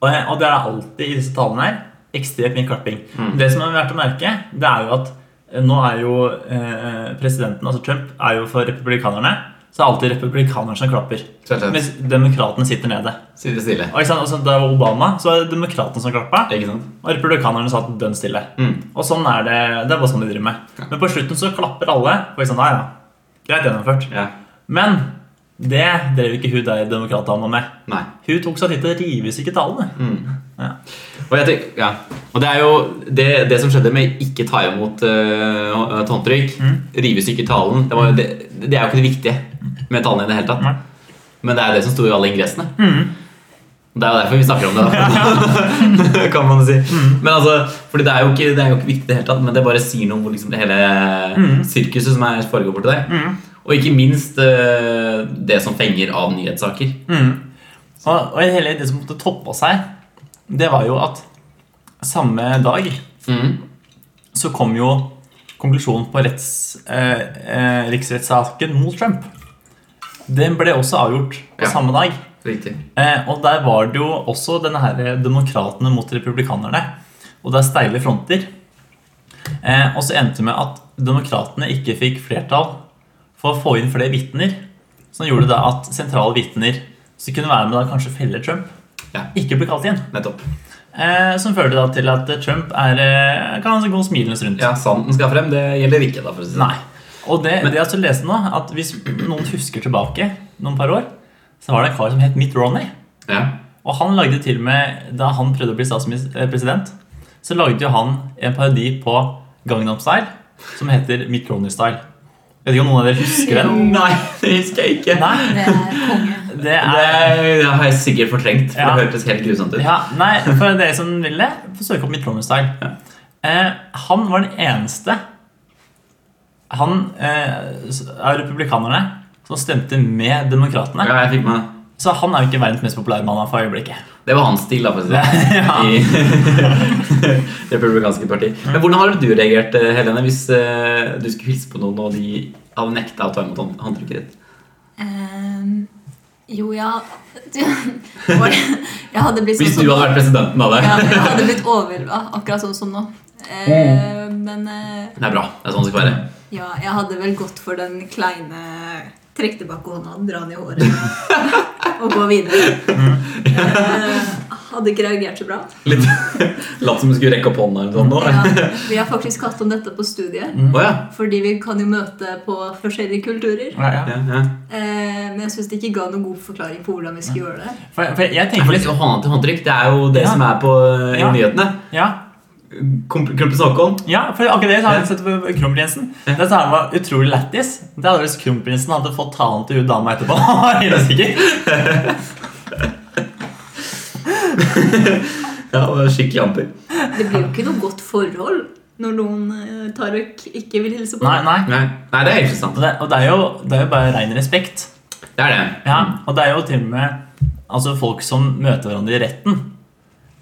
Speaker 2: Og, og det er alltid i disse talene her ekstremt mye klapping. Det som er verdt å merke, det er jo at eh, nå er jo eh, presidenten, altså Trump, er jo for republikanerne. Så det er alltid republikanerne som klapper.
Speaker 1: Selvsagt.
Speaker 2: Mens demokratene sitter nede.
Speaker 1: Sitte stille.
Speaker 2: Og ikke sant, altså, Da var Obama, så var det demokratene som klappa.
Speaker 1: Ikke sant?
Speaker 2: Og republikanerne satt dønn stille.
Speaker 1: Mm.
Speaker 2: Og sånn er det, det er bare sånn de driver med.
Speaker 1: Ja.
Speaker 2: Men på slutten så klapper alle. Og sånn, ja, ja, greit gjennomført.
Speaker 1: Ja.
Speaker 2: Men det drev ikke hun der demokratdama med.
Speaker 1: Nei.
Speaker 2: Hun tok seg tid til å rive i stykker tallene.
Speaker 1: Mm. Og, jeg tenker, ja. og det er jo det, det som skjedde med ikke ta imot eh, hå- håndtrykk,
Speaker 2: Mm.
Speaker 1: rive i stykker talen det, var, jo det, det er jo ikke det viktige med talen i det hele tatt.
Speaker 2: Nei. Mm.
Speaker 1: Men det er det som sto i alle ingressene. Det er jo derfor vi snakker om det, da. kan man si.
Speaker 2: Mm.
Speaker 1: Men altså, fordi det er, jo ikke, det er jo ikke viktig i det hele tatt, men det bare sier noe om hvor liksom det hele
Speaker 2: Mm.
Speaker 1: sirkuset som er foregår borti der. Og ikke minst eh, det som fenger av nyhetssaker.
Speaker 2: Mm. Og, og hele det som måtte toppa seg, det var jo at samme dag
Speaker 1: Mm.
Speaker 2: så kom jo konklusjonen på retts, eh, eh, riksrettssaken mot Trump. Den ble også avgjort på
Speaker 1: Ja.
Speaker 2: samme dag.
Speaker 1: Riktig.
Speaker 2: Eh, og der var det jo også denne her demokratene mot republikanerne. Og det er steile fronter. Eh, og så endte det med at demokratene ikke fikk flertall for å få inn flere vitner. Som gjorde det at sentrale vitner som kunne være med da kanskje felle Trump,
Speaker 1: Ja.
Speaker 2: ikke ble kalt inn.
Speaker 1: Nettopp.
Speaker 2: Eh, som førte da til at Trump er, eh, kan gå smilende rundt.
Speaker 1: Ja, Sannheten skal frem. Det gjelder ikke, da. for å si det
Speaker 2: Nei. Og det, det jeg også leste nå, at hvis noen husker tilbake noen par år, så var det en kar som het Mitt Ronny.
Speaker 1: sånn. Ja.
Speaker 2: Og han lagde til og med Da han prøvde å bli statsminister- eh, president, så lagde jo han en parodi på Gangnam Style som heter Mitt Ronny Style. Vet ikke om noen av dere husker den?
Speaker 1: Nei, det husker jeg ikke.
Speaker 2: Nei,
Speaker 3: Det er konge.
Speaker 2: det er
Speaker 1: Det, det har jeg sikkert fortrengt. For
Speaker 2: Ja.
Speaker 1: Det hørtes helt grusomt ut.
Speaker 2: ja, Nei, for dere som vil det, få søke opp Mitt Ronny Style. Eh, han var den eneste Han eh, s- av republikanerne som stemte med demokratene.
Speaker 1: Ja, jeg fikk med
Speaker 2: Så han er jo ikke verdens mest populære mann for øyeblikket.
Speaker 1: Det var hans stil, da. for å si det
Speaker 2: Ja.
Speaker 1: i Det republikanske parti. Men hvordan hadde du reagert, eh, Helene, hvis eh, du skulle hilse på noen og de hadde nekta å ta imot hånd- håndtrykket ditt?
Speaker 3: Ehm, jo, ja du, var det- Jeg hadde blitt sånn
Speaker 1: Hvis du hadde vært presidenten av det.
Speaker 3: ja, Jeg hadde blitt overvelda, akkurat sånn som nå. Eh, men eh,
Speaker 1: Det er bra. Det er sånn det skal være.
Speaker 3: ja, jeg hadde vel gått for den kleine Trekk tilbake hånda, dra den i håret og gå videre. Eh, hadde ikke reagert så bra.
Speaker 1: Litt Latt som du skulle rekke opp hånda eller sånn nå.
Speaker 3: Ja, vi har faktisk hatt om dette på studiet.
Speaker 1: Å ja.
Speaker 3: Fordi vi kan jo møte på forskjellige kulturer.
Speaker 2: Ja, ja.
Speaker 1: Ja, ja.
Speaker 3: Eh, men jeg syns det ikke ga noen god forklaring på hvordan vi skulle gjøre det.
Speaker 2: For, for jeg
Speaker 1: Ja,
Speaker 2: tenker
Speaker 1: For liksom hånda til håndtrykk, det er jo det
Speaker 2: Ja.
Speaker 1: som er på eh, i
Speaker 2: Ja.
Speaker 1: nyhetene.
Speaker 2: ja,
Speaker 1: Komp- Kronprins Haakon.
Speaker 2: Ja, for akkurat det så har jeg
Speaker 1: Ja.
Speaker 2: sett på Kronprinsen. Det sa han var utrolig lættis. Det hadde hvis Kronprinsen hadde fått talen til hun dama etterpå. Var helt sikker.
Speaker 1: Ja, det var skikkelig amper.
Speaker 3: Det blir jo ikke noe godt forhold når noen eh, tar vekk ikke vil hilse på
Speaker 2: Nei, nei.
Speaker 1: Nei. Nei, det er helt sant.
Speaker 2: Og det, og det, er, jo, det er jo bare ren respekt.
Speaker 1: Det er det.
Speaker 2: Ja, og det er jo til og med altså, folk som møter hverandre i retten.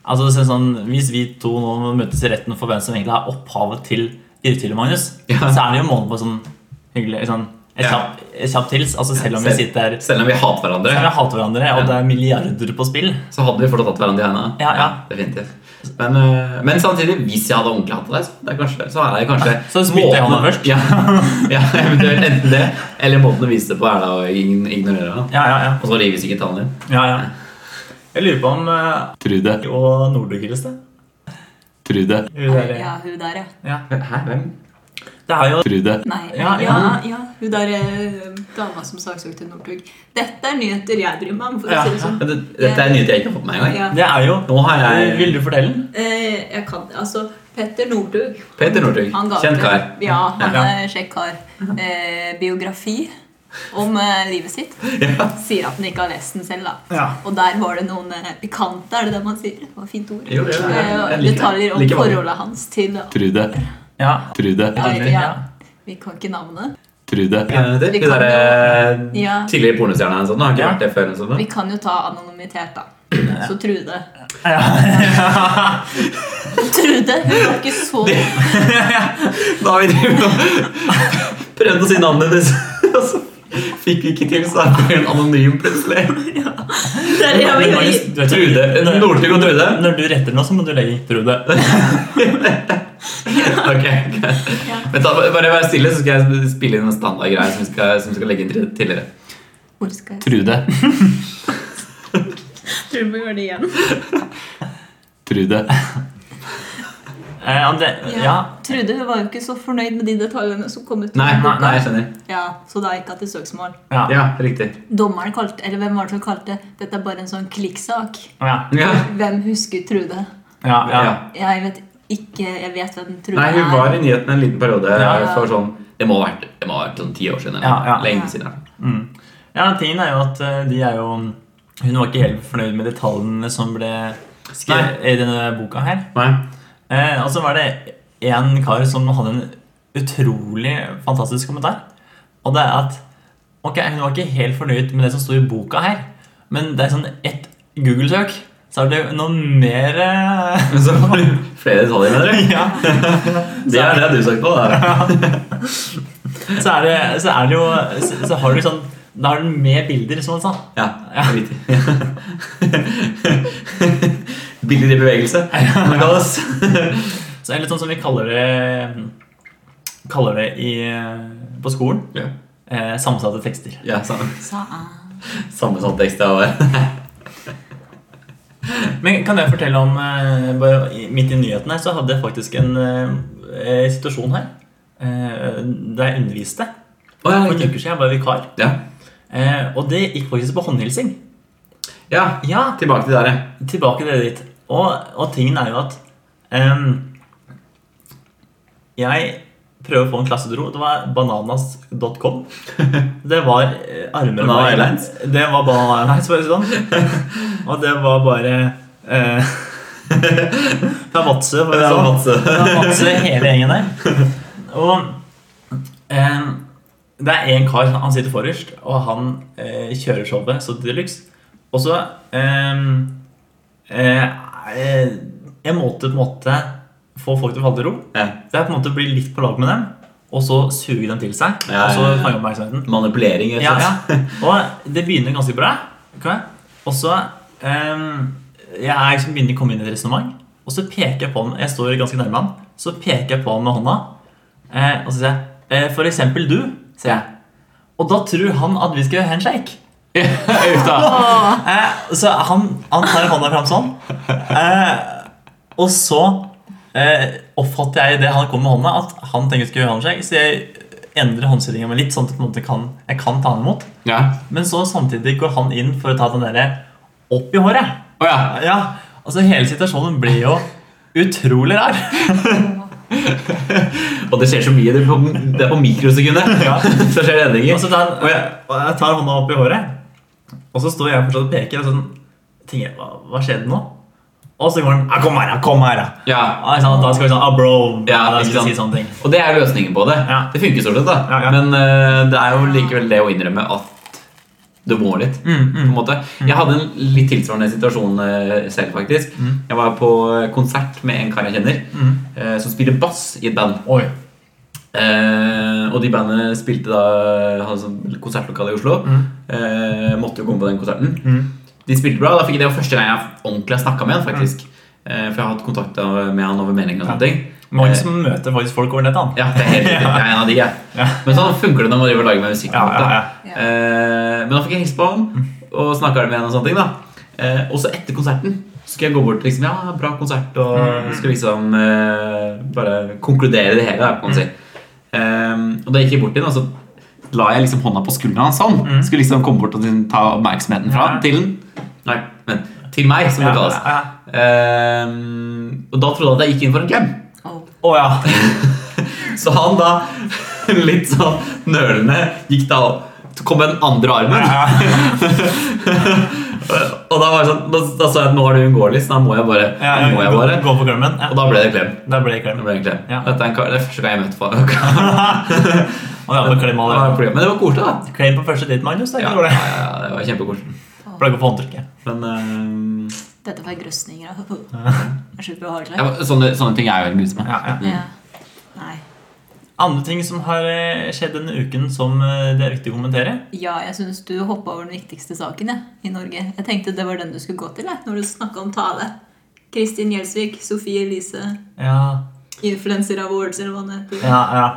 Speaker 2: Altså det er sånn, Hvis vi to nå møtes i retten for hvem som egentlig har opphavet til irriterende, Magnus,
Speaker 1: Ja.
Speaker 2: så er det jo målet på sånn hyggelig sånn, et
Speaker 1: Ja.
Speaker 2: kjapt et kjapt hils. Altså, selv om vi
Speaker 1: Selv-
Speaker 2: sitter her
Speaker 1: Selv om vi hater hverandre,
Speaker 2: Selv om vi hater hverandre,
Speaker 1: Ja.
Speaker 2: og det er milliarder på spill
Speaker 1: så hadde vi fortsatt hatt hverandre i hendene.
Speaker 2: Ja, ja.
Speaker 1: definitivt. Men, øh, men samtidig, hvis jeg hadde ordentlig hatt deg, så, det er kanskje, så er det kanskje
Speaker 2: Så spytter jeg
Speaker 1: måten-
Speaker 2: hånda først.
Speaker 1: Ja, ja, eventuelt enten det, eller måten å vise det på er da å ign- ignorere han.
Speaker 2: Ja, ja, ja.
Speaker 1: Og så rives ikke tannen din.
Speaker 2: ja, ja. Jeg lurer på om eh,
Speaker 4: Trude,
Speaker 2: og Nordic hilles det.
Speaker 4: Trude,
Speaker 2: Hun der,
Speaker 3: Ja, hun der, ja.
Speaker 2: ja.
Speaker 1: Hæ, hvem?
Speaker 2: Det er jo
Speaker 4: Trude.
Speaker 3: Nei,
Speaker 2: Ja,
Speaker 3: ja,
Speaker 2: ja.
Speaker 3: ja, hun der eh, dama som saksøkte Northug. Dette er nyheter jeg bryr meg om, for
Speaker 2: Ja,
Speaker 3: å si det sånn.
Speaker 1: Men det, dette er nyheter jeg ikke har fått med meg engang.
Speaker 3: Ja.
Speaker 2: Det er jo
Speaker 1: Nå har jeg
Speaker 2: Vil du fortelle den?
Speaker 3: Eh, jeg kan Altså, Petter Northug.
Speaker 1: Peter Northug.
Speaker 3: han ga
Speaker 1: Kjent
Speaker 3: ut-
Speaker 1: kar.
Speaker 3: Ja, han
Speaker 2: Ja.
Speaker 3: er kjekk kar. Eh, biografi om eh, livet sitt.
Speaker 1: Ja.
Speaker 3: Sier at han ikke har lest den selv, da.
Speaker 2: Ja.
Speaker 3: Og der var det noen eh, pikante, er det det man sier? Det var et fint ord.
Speaker 1: Jo, jo, jeg-
Speaker 3: Eh,
Speaker 1: jeg liker det.
Speaker 3: Detaljer om
Speaker 1: Liker mange.
Speaker 3: forholdet hans til ja,
Speaker 4: Trude,
Speaker 2: Ja.
Speaker 4: Trude,
Speaker 3: ja, Vi kan ikke navnet.
Speaker 4: Trude,
Speaker 1: Eh, Det,
Speaker 3: Vi
Speaker 1: det
Speaker 3: kan
Speaker 1: der, eh,
Speaker 3: Ja.
Speaker 1: Tidligere pornostjerne og sånn. Har ikke
Speaker 2: Ja.
Speaker 1: vært det før. og Sånn,
Speaker 3: Vi
Speaker 1: da.
Speaker 3: kan jo ta anonymitet, da. Så Trude. Trude, hun var ikke så
Speaker 1: da har vi drevet og prøvd å si navnet hennes, og så fikk vi ikke til, så er hun anonym plutselig.
Speaker 3: Det er det jeg vil
Speaker 2: Magnus,
Speaker 3: gjøre.
Speaker 2: du vet-
Speaker 1: Trude, Northug og Trude.
Speaker 2: Når du retter nå, så må du legge Trude.
Speaker 1: Ok, ok. Vent da, Bare vær stille, så skal jeg spille inn en standardgreie som vi skal, som vi skal legge inn til- tidligere.
Speaker 3: Hvor skal jeg
Speaker 4: Trude,
Speaker 3: Tror du vi gjør det igjen?
Speaker 4: Trude,
Speaker 2: Eh, Ande,
Speaker 3: Ja.
Speaker 2: ja.
Speaker 3: Trude hun var jo ikke så fornøyd med de detaljene som kom ut.
Speaker 1: Nei, nei, nei, jeg skjønner.
Speaker 3: Ja, Så da gikk hun til søksmål.
Speaker 2: Ja.
Speaker 1: Ja, riktig.
Speaker 3: Dommeren kalte, eller hvem var det som kalte dette er bare en sånn klikksak?
Speaker 2: Ja.
Speaker 1: Ja.
Speaker 3: Hvem husker Trude?
Speaker 2: Ja, ja.
Speaker 1: Ja.
Speaker 3: Jeg vet ikke Jeg vet hvem Trude
Speaker 1: Nei, hun
Speaker 3: er.
Speaker 1: var i nyhetene en liten periode
Speaker 2: Ja.
Speaker 1: for sånn Det må ha vært, det må ha vært sånn ti år siden. Eller?
Speaker 2: Ja, ja.
Speaker 1: Lenge siden.
Speaker 2: Mm. ja tingen er jo at eh, de er jo Hun var ikke helt fornøyd med detaljene som ble skrevet i denne boka her.
Speaker 1: Nei.
Speaker 2: Eh, og så var det en kar som hadde en utrolig fantastisk kommentar. Og det er at Ok, hun var ikke helt fornøyd med det som sto i boka her, men det er sånn ett Google-søk, så er det noe mer eh,
Speaker 1: Men så får du flere detaljer med dere.
Speaker 2: ja.
Speaker 1: Det er det du søkte på. Da.
Speaker 2: så, er det, så er det jo Så, så har du sånn Da har du med bilder, sånn, som han sa.
Speaker 1: Ja,
Speaker 2: Ja.
Speaker 1: riktig. Bilder i bevegelse. Kan det kalles.
Speaker 2: Så det er litt sånn som vi kaller det Kaller det i, eh, på skolen.
Speaker 1: Ja.
Speaker 2: Eh, sammensatte tekster.
Speaker 1: Ja, sam-
Speaker 3: Sa jeg.
Speaker 1: Sammensatt tekst. ja, og-
Speaker 2: Men kan jeg fortelle om eh, bare i- Midt i nyhetene så hadde jeg faktisk en eh, eh, situasjon her. Eh, der jeg underviste.
Speaker 1: Å, ja,
Speaker 2: For en
Speaker 1: riktig.
Speaker 2: uke siden jeg var vikar.
Speaker 1: ja.
Speaker 2: Eh, og det gikk faktisk på håndhilsing.
Speaker 1: ja,
Speaker 2: Ja,
Speaker 1: tilbake til der, ja.
Speaker 2: tilbake til det dit. Og, og tingen er jo at ehm, Jeg prøver å få en klasse til å ro. Det var bananas.com. Det var eh, armer
Speaker 1: Banana
Speaker 2: bare-
Speaker 1: Airlines?
Speaker 2: Det var Banana Airlines, for å si det sånn. Og det var bare eh, Fra Vadsø, for å si det
Speaker 1: Det var
Speaker 2: sånn.
Speaker 1: Vadsø.
Speaker 2: Det var Vadsø, hele gjengen der. Og ehm, det er en kar, han sitter forrest, og han eh, kjører showet så til deluxe. Og så ehm, eh, eh, Jeg måtte på en måte få folk til å falle til ro.
Speaker 1: ja.
Speaker 2: Det er på en måte å bli litt på lag med dem, og så suge dem til seg.
Speaker 1: Ja,
Speaker 2: Og så
Speaker 1: ja, ja.
Speaker 2: fange oppmerksomheten.
Speaker 1: Manipulering, rett
Speaker 2: Ja,
Speaker 1: og slett.
Speaker 2: ja. Og det begynner ganske bra. ok? Og så ehm, Jeg er liksom begynner å komme inn i et resonnement, og så peker jeg på ham. Jeg står ganske nærme ham, så peker jeg på ham med hånda, eh, og så sier jeg eh, For eksempel du, sier jeg. Og da tror han at vi skal gjøre handshake. Eh, så han, han tar hånda fram sånn. Eh, og så eh, oppfatter jeg det han kom med hånda, at han tenker skal gjøre håndshake. Så jeg endrer håndstillingen min litt, sånn at jeg på en måte kan, jeg kan ta han imot.
Speaker 4: Ja.
Speaker 2: Men så samtidig går han inn for å ta den derre opp i håret.
Speaker 4: Å ja.
Speaker 2: Ja, altså Hele situasjonen ble jo utrolig rar.
Speaker 1: Og det skjer så mye. Det er på, det er på mikrosekundet.
Speaker 2: Ja.
Speaker 1: Så skjer det
Speaker 2: Og,
Speaker 1: endringer.
Speaker 2: så tar, og, jeg, og jeg tar hånda opp i håret, og så står jeg fortsatt og peker. Og sånn, tenker jeg, hva, hva skjedde nå? Og så går han «Ja, 'Kom her, ja, kom her', ja.
Speaker 1: Ja.
Speaker 2: Ja, ikke sant? Da skal vi sånn, ah bro, ja,
Speaker 1: Ja,
Speaker 2: da
Speaker 1: ikke
Speaker 2: skal vi si
Speaker 1: sant.
Speaker 2: sånne ting.
Speaker 1: Og det er løsningen på det.
Speaker 2: Ja.
Speaker 1: Det funker stort sett, da.
Speaker 2: Ja, ja.
Speaker 1: Men eh, det er jo likevel det å innrømme at du må litt.
Speaker 2: Mm,
Speaker 1: På en måte. Jeg hadde en litt tilsvarende situasjon eh, selv,
Speaker 2: Mm.
Speaker 1: faktisk. Jeg var på konsert med en kar jeg kjenner, eh, som spiller bass i et band.
Speaker 2: Oi.
Speaker 1: Eh, og de bandene spilte da Hadde sånn konsertlokale i Oslo.
Speaker 2: Mm.
Speaker 1: Eh, måtte jo komme på den konserten. De spilte bra. Da fikk jeg det var første gang jeg ordentlig har snakka med han
Speaker 2: Mm.
Speaker 1: faktisk. Eh, for jeg har hatt kontakt med han over melding. og sånne ting
Speaker 2: Mange
Speaker 1: Eh,
Speaker 2: som møter faktisk folk over nettet. da.
Speaker 1: Ja, det er helt riktig. Jeg er en av de, jeg.
Speaker 2: Ja.
Speaker 1: Men sånn funker det når man driver og lager med musikk. på en
Speaker 2: Ja,
Speaker 1: måte.
Speaker 2: ja, ja.
Speaker 3: Ja.
Speaker 1: Eh, men da fikk jeg hilse på han og snakka med han. Og sånne ting da eh, Og så etter konserten så skulle jeg gå bort liksom, Ja, bra konsert og
Speaker 2: Mm.
Speaker 1: skulle liksom eh, bare konkludere det hele. Da, kan man si. Eh, og da gikk jeg bort til han, og så la jeg liksom hånda på skulderen hans. Sånn. Skulle liksom komme bort og liksom ta oppmerksomheten fra
Speaker 2: Mm. Ja.
Speaker 1: han til han. Nei, men til meg, som det
Speaker 2: Ja,
Speaker 1: kalles.
Speaker 2: ja, ja.
Speaker 1: Eh, og da trodde han at jeg gikk inn for en klem.
Speaker 3: Å,
Speaker 2: Å ja.
Speaker 1: Så han da, litt sånn nølende, gikk da opp Kom med den andre armen. og da var det sånn Da, da sa jeg at nå er det uunngåelig, så da må jeg bare.
Speaker 2: ja,
Speaker 1: da må jeg
Speaker 2: gå,
Speaker 1: bare.
Speaker 2: gå for klømmen. Ja.
Speaker 1: Og da ble det klem.
Speaker 2: Da ble det klem.
Speaker 1: Da ble det, klem.
Speaker 2: Ja.
Speaker 1: Dette er en kar, det er første gang jeg møtte på
Speaker 2: Og det var klem,
Speaker 1: Men
Speaker 2: allerede.
Speaker 1: det var koselig, da.
Speaker 2: klem på første date, Magnus. Det er
Speaker 1: Ja,
Speaker 2: ikke
Speaker 1: ja,
Speaker 2: dårlig.
Speaker 1: ja, det var kjempekoselig.
Speaker 2: Flagg på håndtrykket.
Speaker 1: Men eh,
Speaker 3: Dette var grøsninger. da. Det er sjukt behagelig.
Speaker 1: ja, sånne, sånne ting er Mm. jo en grusomme.
Speaker 2: Ja, ja.
Speaker 3: Ja. Nei.
Speaker 2: Andre ting som har eh, skjedd denne uken som eh, det er viktig å kommentere?
Speaker 3: Ja, jeg syns du hoppa over den viktigste saken jeg, i Norge. Jeg tenkte det var den du skulle gå til jeg, når du snakka om tale. Kristin Gjelsvik, Sofie Elise,
Speaker 2: Ja,
Speaker 3: Influencer Awards eller hva det heter.
Speaker 2: ja, ja.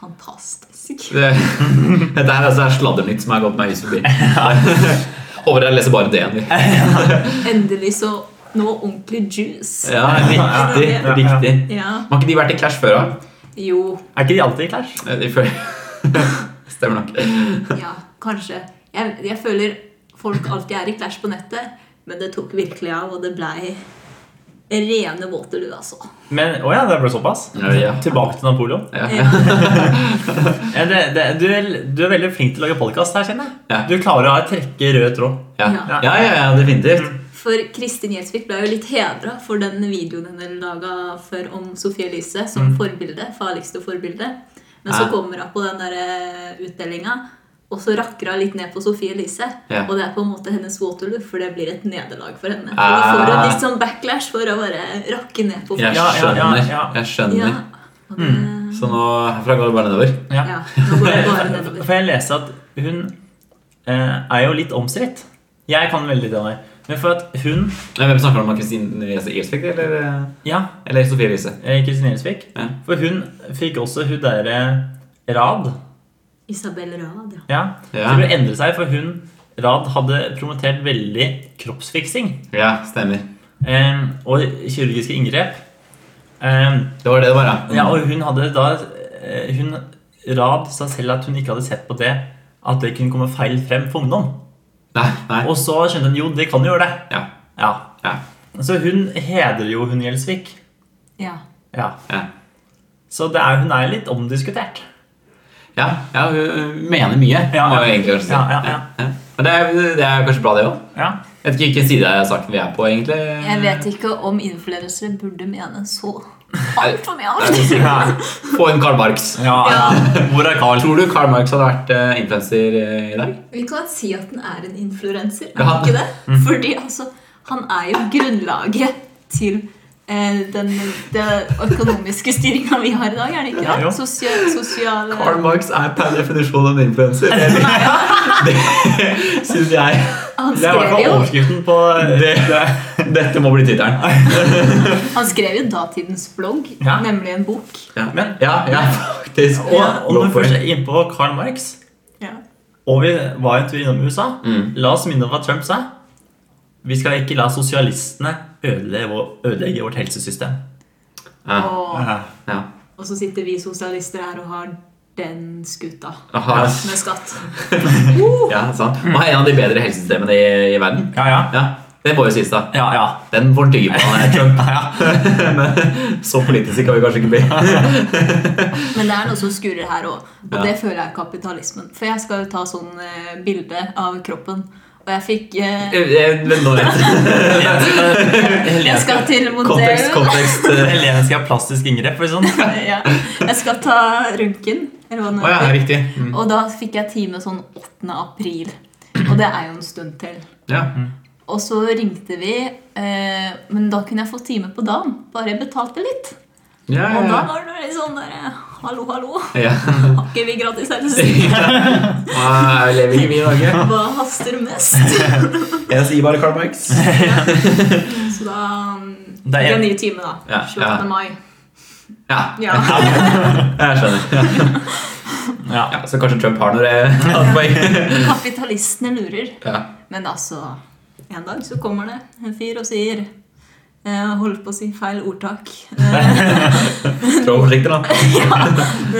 Speaker 3: Fantastisk.
Speaker 1: Det, dette her altså, er sladdernytt som har gått meg hus forbi. Håper jeg leser bare det igjen. vi.
Speaker 3: Endelig så nå ordentlig juice.
Speaker 1: Ja, riktig.
Speaker 2: Ja, ja.
Speaker 1: riktig.
Speaker 3: Ja.
Speaker 1: Har ikke de vært i Clash før av?
Speaker 3: Jo.
Speaker 2: Er ikke de alltid i clash?
Speaker 1: Eh, de før- Stemmer nok.
Speaker 3: Ja, kanskje. Jeg, jeg føler folk alltid er i clash på nettet, men det tok virkelig av, og det blei rene Waterloo, altså.
Speaker 2: Men, å ja, det ble såpass.
Speaker 1: Ja, ja.
Speaker 2: Tilbake til Napoleon.
Speaker 1: Ja.
Speaker 3: Ja.
Speaker 2: Ja, det, det, du, er, du er veldig flink til å lage podkast her, kjenner jeg.
Speaker 1: Ja.
Speaker 2: Du klarer å ha- trekke rød tråd.
Speaker 1: Ja. Ja, ja, ja, definitivt.
Speaker 3: For Kristin Gjelsvik ble jo litt hedra for den videoen hun laga før om Sophie Elise som forbilde. Farligste forbilde. Men
Speaker 1: Mm.
Speaker 3: så
Speaker 1: Ja.
Speaker 3: kommer hun på den der utdelinga, og så rakker hun litt ned på Sophie Elise.
Speaker 1: Ja.
Speaker 3: Og det er på en måte hennes Waterloo, for det blir et nederlag for henne. Og da
Speaker 1: Ah.
Speaker 3: får hun litt sånn backlash for å bare rakke ned på
Speaker 1: Jeg
Speaker 3: folk.
Speaker 2: Ja, ja, ja,
Speaker 1: skjønner.
Speaker 2: ja.
Speaker 1: Jeg skjønner. Mm.
Speaker 3: Og det,
Speaker 1: Så nå herfra går det bare nedover.
Speaker 3: ja, nå går det bare nedover.
Speaker 2: For jeg leste at hun eh, er jo litt omstridt. Jeg kan veldig det der. Men for at hun
Speaker 1: Nei, Hvem snakker du om? Kristin Gjelsvik eller,
Speaker 2: Ja,
Speaker 1: eller Sofie Elise?
Speaker 2: eh, Kristin Gjelsvik.
Speaker 1: Ja.
Speaker 2: For hun fikk også hun derre Rad.
Speaker 3: Isabel Rad, ja.
Speaker 2: Ja.
Speaker 1: Ja.
Speaker 2: Så det endret seg, for hun Rad hadde promotert veldig kroppsfiksing
Speaker 1: Ja, stemmer.
Speaker 2: eh, og kirurgiske inngrep. Eh,
Speaker 1: Det var det det var, ja.
Speaker 2: Ja, og hun hadde da eh, Hun Rad sa selv at hun ikke hadde sett på det at det kunne komme feil frem for ungdom.
Speaker 1: Nei, nei.
Speaker 2: Og så skjønte hun jo, det kan jo gjøre det.
Speaker 1: Ja,
Speaker 2: Ja.
Speaker 1: ja,
Speaker 2: Så hun hedrer jo hun Gjelsvik.
Speaker 3: ja.
Speaker 2: Ja.
Speaker 1: ja.
Speaker 2: Så det er, hun er litt omdiskutert.
Speaker 1: Ja, ja, hun mener mye,
Speaker 2: Ja,
Speaker 1: må
Speaker 2: ja.
Speaker 1: jeg egentlig kanskje si.
Speaker 2: Ja, ja, ja.
Speaker 1: Men det er, det er kanskje bra, det òg.
Speaker 2: Ja.
Speaker 1: Jeg vet ikke hvilken side av saken vi er på, egentlig.
Speaker 3: Jeg vet ikke om influensere burde mene så altfor mye.
Speaker 1: Det er så
Speaker 3: alt.
Speaker 1: sikkert.
Speaker 2: Ja.
Speaker 1: Få inn Karl Marx.
Speaker 2: Hvor er Carl?
Speaker 1: Tror du Karl Marx hadde vært uh, influenser eh, i dag?
Speaker 3: Vi kan si at den er en influenser, er
Speaker 1: Ja.
Speaker 3: han ikke det?
Speaker 2: Mm.
Speaker 3: Fordi altså, han er jo grunnlaget til eh, den, den økonomiske styringa vi har i dag, er det ikke
Speaker 2: Ja, jo.
Speaker 3: det? Sosial, sosiale
Speaker 1: Karl Marx er per definisjon en influenser. Det syns jeg.
Speaker 3: han,
Speaker 2: Det er i hvert
Speaker 3: skrev
Speaker 2: fall
Speaker 3: jo,
Speaker 2: overskriften på eh,
Speaker 1: Det, dette må bli tittelen.
Speaker 3: han skrev jo datidens blogg,
Speaker 2: Ja.
Speaker 3: nemlig en bok.
Speaker 1: Ja.
Speaker 2: Men-
Speaker 1: ja, ja, faktisk.
Speaker 2: Og, og når
Speaker 1: Go
Speaker 2: vi
Speaker 1: for
Speaker 2: først
Speaker 1: it.
Speaker 2: er inne på Carl Marx,
Speaker 3: Ja.
Speaker 2: og vi var en tur innom USA
Speaker 1: Mm.
Speaker 2: La oss minne om hva Trump sa. Vi skal ikke la sosialistene ødelegge, vår, ødelegge vårt helsesystem.
Speaker 1: Ja,
Speaker 3: Og,
Speaker 1: ja.
Speaker 3: og så sitter vi sosialister her og har den skuta
Speaker 1: Aha.
Speaker 3: med skatt.
Speaker 1: ja sant. Og er en av de bedre helsesystemene i, i verden.
Speaker 2: Ja, ja.
Speaker 1: Ja, Det må jo sies, da.
Speaker 2: Ja, ja.
Speaker 1: Den får han tygge på. han er Trump.
Speaker 2: Ja, ja.
Speaker 1: Men så politiske kan vi kanskje ikke bli.
Speaker 3: Men det er noe som skurrer her òg, og
Speaker 1: Ja.
Speaker 3: det føler jeg er kapitalismen. For jeg skal jo ta sånn eh, bilde av kroppen, og jeg fikk eh,
Speaker 1: Eh, Vent nå litt.
Speaker 3: Jeg skal til
Speaker 1: Kontekst,
Speaker 3: modell.
Speaker 1: kontekst. eh.
Speaker 2: Helene skal ha plastisk inngrep. for sånn.
Speaker 3: Ja. Jeg skal ta røntgen, eller hva
Speaker 1: Å
Speaker 3: det
Speaker 1: ja,
Speaker 3: heter.
Speaker 1: riktig. Mm.
Speaker 3: Og da fikk jeg time sånn 8. april. Og det er jo en stund til.
Speaker 1: Ja.
Speaker 3: Og så ringte vi, eh, men da kunne jeg få time på dagen. Bare jeg betalte litt.
Speaker 1: Ja,
Speaker 3: Og
Speaker 1: ja,
Speaker 3: da
Speaker 1: ja.
Speaker 3: var det litt sånn der eh, Hallo, hallo.
Speaker 1: Ja.
Speaker 3: Har ikke vi gratis helsehjelp?
Speaker 1: Ah, lever ikke vi i Norge?
Speaker 3: Hva haster mest?
Speaker 1: Jeg sier bare Karl Marx.
Speaker 3: Så da um,
Speaker 2: Det er-
Speaker 3: blir en ny time, da.
Speaker 1: Ja,
Speaker 3: 28.
Speaker 1: ja.
Speaker 3: mai.
Speaker 1: Ja,
Speaker 3: Ja.
Speaker 1: jeg skjønner.
Speaker 2: Ja.
Speaker 1: Ja, så kanskje Trump har noe eh, poeng.
Speaker 3: Kapitalistene lurer.
Speaker 1: Ja.
Speaker 3: Men altså, en dag så kommer det en fyr og sier eh, Holdt på å si feil ordtak. Eh,
Speaker 1: Trå forsiktig, da.
Speaker 3: ja,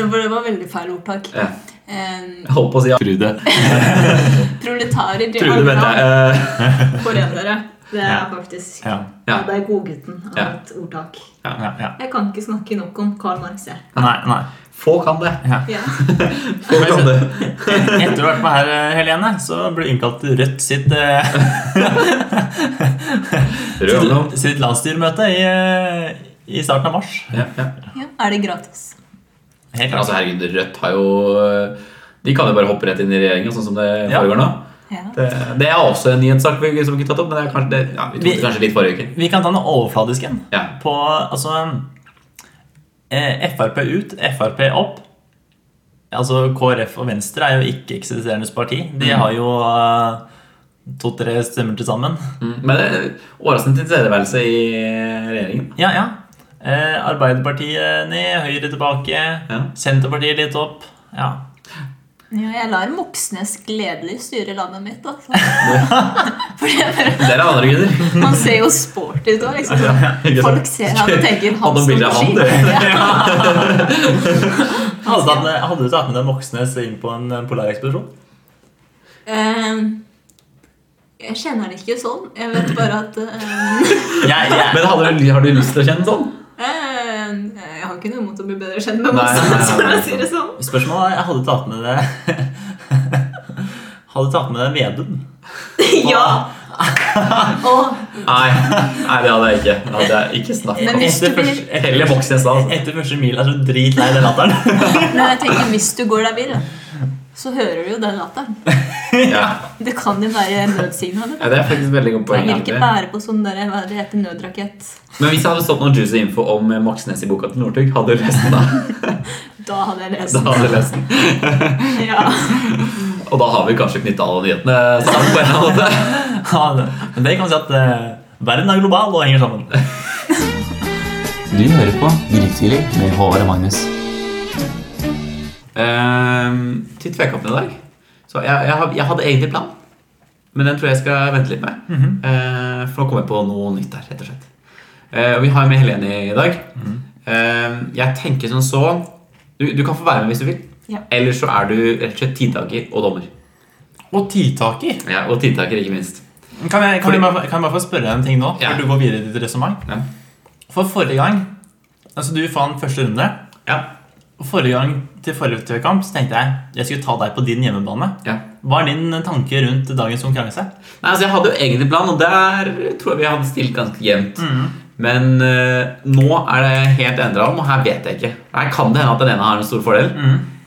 Speaker 3: men for det var veldig feil ordtak.
Speaker 1: Ja.
Speaker 3: Eh,
Speaker 1: Jeg holdt på å si ja.
Speaker 4: Trude.
Speaker 3: proletarer i
Speaker 1: Trude, mente jeg.
Speaker 3: Arendal,
Speaker 1: Eh,
Speaker 3: forrædere. Det er
Speaker 2: Ja.
Speaker 3: faktisk
Speaker 2: Ja.
Speaker 1: Ja.
Speaker 3: Det er godgutten av
Speaker 1: Ja.
Speaker 3: et ordtak.
Speaker 2: Ja. ja.
Speaker 3: Jeg kan ikke snakke nok om Karl Marx, jeg.
Speaker 2: Nei, nei.
Speaker 1: Få kan det.
Speaker 2: Ja.
Speaker 3: Ja.
Speaker 1: Få kan det.
Speaker 2: Etter å ha vært med her, eh, Helene, så ble du innkalt til Rødt sitt, eh,
Speaker 1: Rød ungdom.
Speaker 2: sitt, sitt landsstyremøte i, eh, i starten av mars.
Speaker 1: Ja, ja.
Speaker 3: Ja, er det gratis?
Speaker 2: Helt
Speaker 1: Men altså,
Speaker 2: klart.
Speaker 1: herregud, Rødt har jo eh, De kan jo bare hoppe rett inn i regjeringen, sånn som det
Speaker 2: Ja.
Speaker 1: foregår nå.
Speaker 3: Ja.
Speaker 1: Det, det er også en nyhetssak vi- som vi ikke har tatt opp, men det er kanskje, det, ja, vi tok det kanskje litt forrige uke.
Speaker 2: Vi kan ta den overfladiske en.
Speaker 1: Ja.
Speaker 2: På altså eh, Frp ut, Frp opp. Altså KrF og Venstre er jo ikke-eksisterende parti. De
Speaker 1: Mm.
Speaker 2: har jo eh, to-tre stemmer til sammen.
Speaker 1: Mm. Men det er overraskende tilstedeværelse i regjeringen.
Speaker 2: Ja, ja. Eh, Arbeiderpartiet ned, Høyre tilbake. Senterpartiet litt opp. Ja.
Speaker 3: Ja, jeg lar Moxnes gledelig styre landet mitt, altså. For jeg bare
Speaker 1: Det er andre grunner.
Speaker 3: Han ser jo sporty ut òg. Liksom.
Speaker 1: ikke sant?
Speaker 3: Folk ser han og tenker
Speaker 1: Han
Speaker 3: han
Speaker 1: og
Speaker 3: står
Speaker 1: bildet
Speaker 3: på
Speaker 1: av
Speaker 3: ski.
Speaker 1: han, det.
Speaker 2: Hadde, du tatt- hadde du tatt med deg Moxnes inn på en polarekspedisjon?
Speaker 3: Ehm, Jeg kjenner det ikke sånn. Jeg vet bare at ehm,
Speaker 2: Jeg, jeg,
Speaker 1: Men hadde du, har du lyst til å kjenne sånn?
Speaker 3: ehm, Jeg har ikke noe imot å bli bedre kjent med
Speaker 1: Nei, nei, nei,
Speaker 3: Moxnes, for
Speaker 1: nei,
Speaker 3: å
Speaker 1: nei.
Speaker 3: si det sånn.
Speaker 2: spørsmålet er hadde du tatt med deg Hadde du tatt med deg Vedum?
Speaker 3: Ja! Og,
Speaker 1: Nei, nei, det hadde jeg ikke. Det hadde jeg ikke snakket
Speaker 3: Men
Speaker 1: om.
Speaker 3: hvis du
Speaker 2: Etter
Speaker 3: blir-
Speaker 2: første, etter,
Speaker 1: Heller Moxnes da. altså.
Speaker 2: etter første mil er så dritlei den latteren.
Speaker 3: men jeg tenker, hvis du går deg vill, så hører du jo den latteren.
Speaker 1: Ja.
Speaker 3: Det kan jo være nødsignaler.
Speaker 1: Ja, det er faktisk et veldig godt
Speaker 3: Jeg
Speaker 1: poeng.
Speaker 3: vil ikke
Speaker 1: egentlig.
Speaker 3: bære på sånn der, hva det heter, nødrakett.
Speaker 1: Men hvis det hadde stått noe juicy info om Moxnes i boka til Northug, hadde du lest den da?
Speaker 3: Da hadde jeg lest
Speaker 1: Da hadde du lest den.
Speaker 3: den. Ja.
Speaker 1: Og da har vi kanskje knytta alle nyhetene sammen på en eller annen måte.
Speaker 2: Ja, det- Men det kan vi si at eh, verden er global og henger sammen.
Speaker 4: Du hører på Grytidlig med Håvard og Magnus.
Speaker 1: Ehm, til Tvekampen i dag Så jeg, jeg, har- jeg hadde egentlig plan, men den tror jeg skal vente litt med. Ehm, for nå kommer jeg på noe nytt her, rett og slett. Ehm, og vi har med Helene i dag. Ehm, jeg tenker som så du, du kan få være med hvis du vil.
Speaker 3: Ja.
Speaker 1: Eller så er du rett og slett tidtaker og dommer.
Speaker 2: Og tidtaker.
Speaker 1: Ja, og tidtaker, ikke minst.
Speaker 2: Kan jeg, kan,
Speaker 1: Fordi-
Speaker 2: jeg bare, kan jeg bare få spørre deg en ting nå?
Speaker 1: Ja.
Speaker 2: Før du går videre i ditt resonnement.
Speaker 1: Ja.
Speaker 2: For forrige gang Altså, du fant første runde.
Speaker 1: Ja.
Speaker 2: Og forrige gang til forrige TV-kamp så tenkte jeg jeg skulle ta deg på din hjemmebane.
Speaker 1: ja.
Speaker 2: Hva er din eh, tanke rundt dagens konkurranse?
Speaker 1: Nei, altså Jeg hadde jo egentlig plan, og der tror jeg vi hadde stilt ganske jevnt. Men eh, nå er det helt endra om, og her vet jeg ikke. Her kan det hende at den ene har en stor fordel.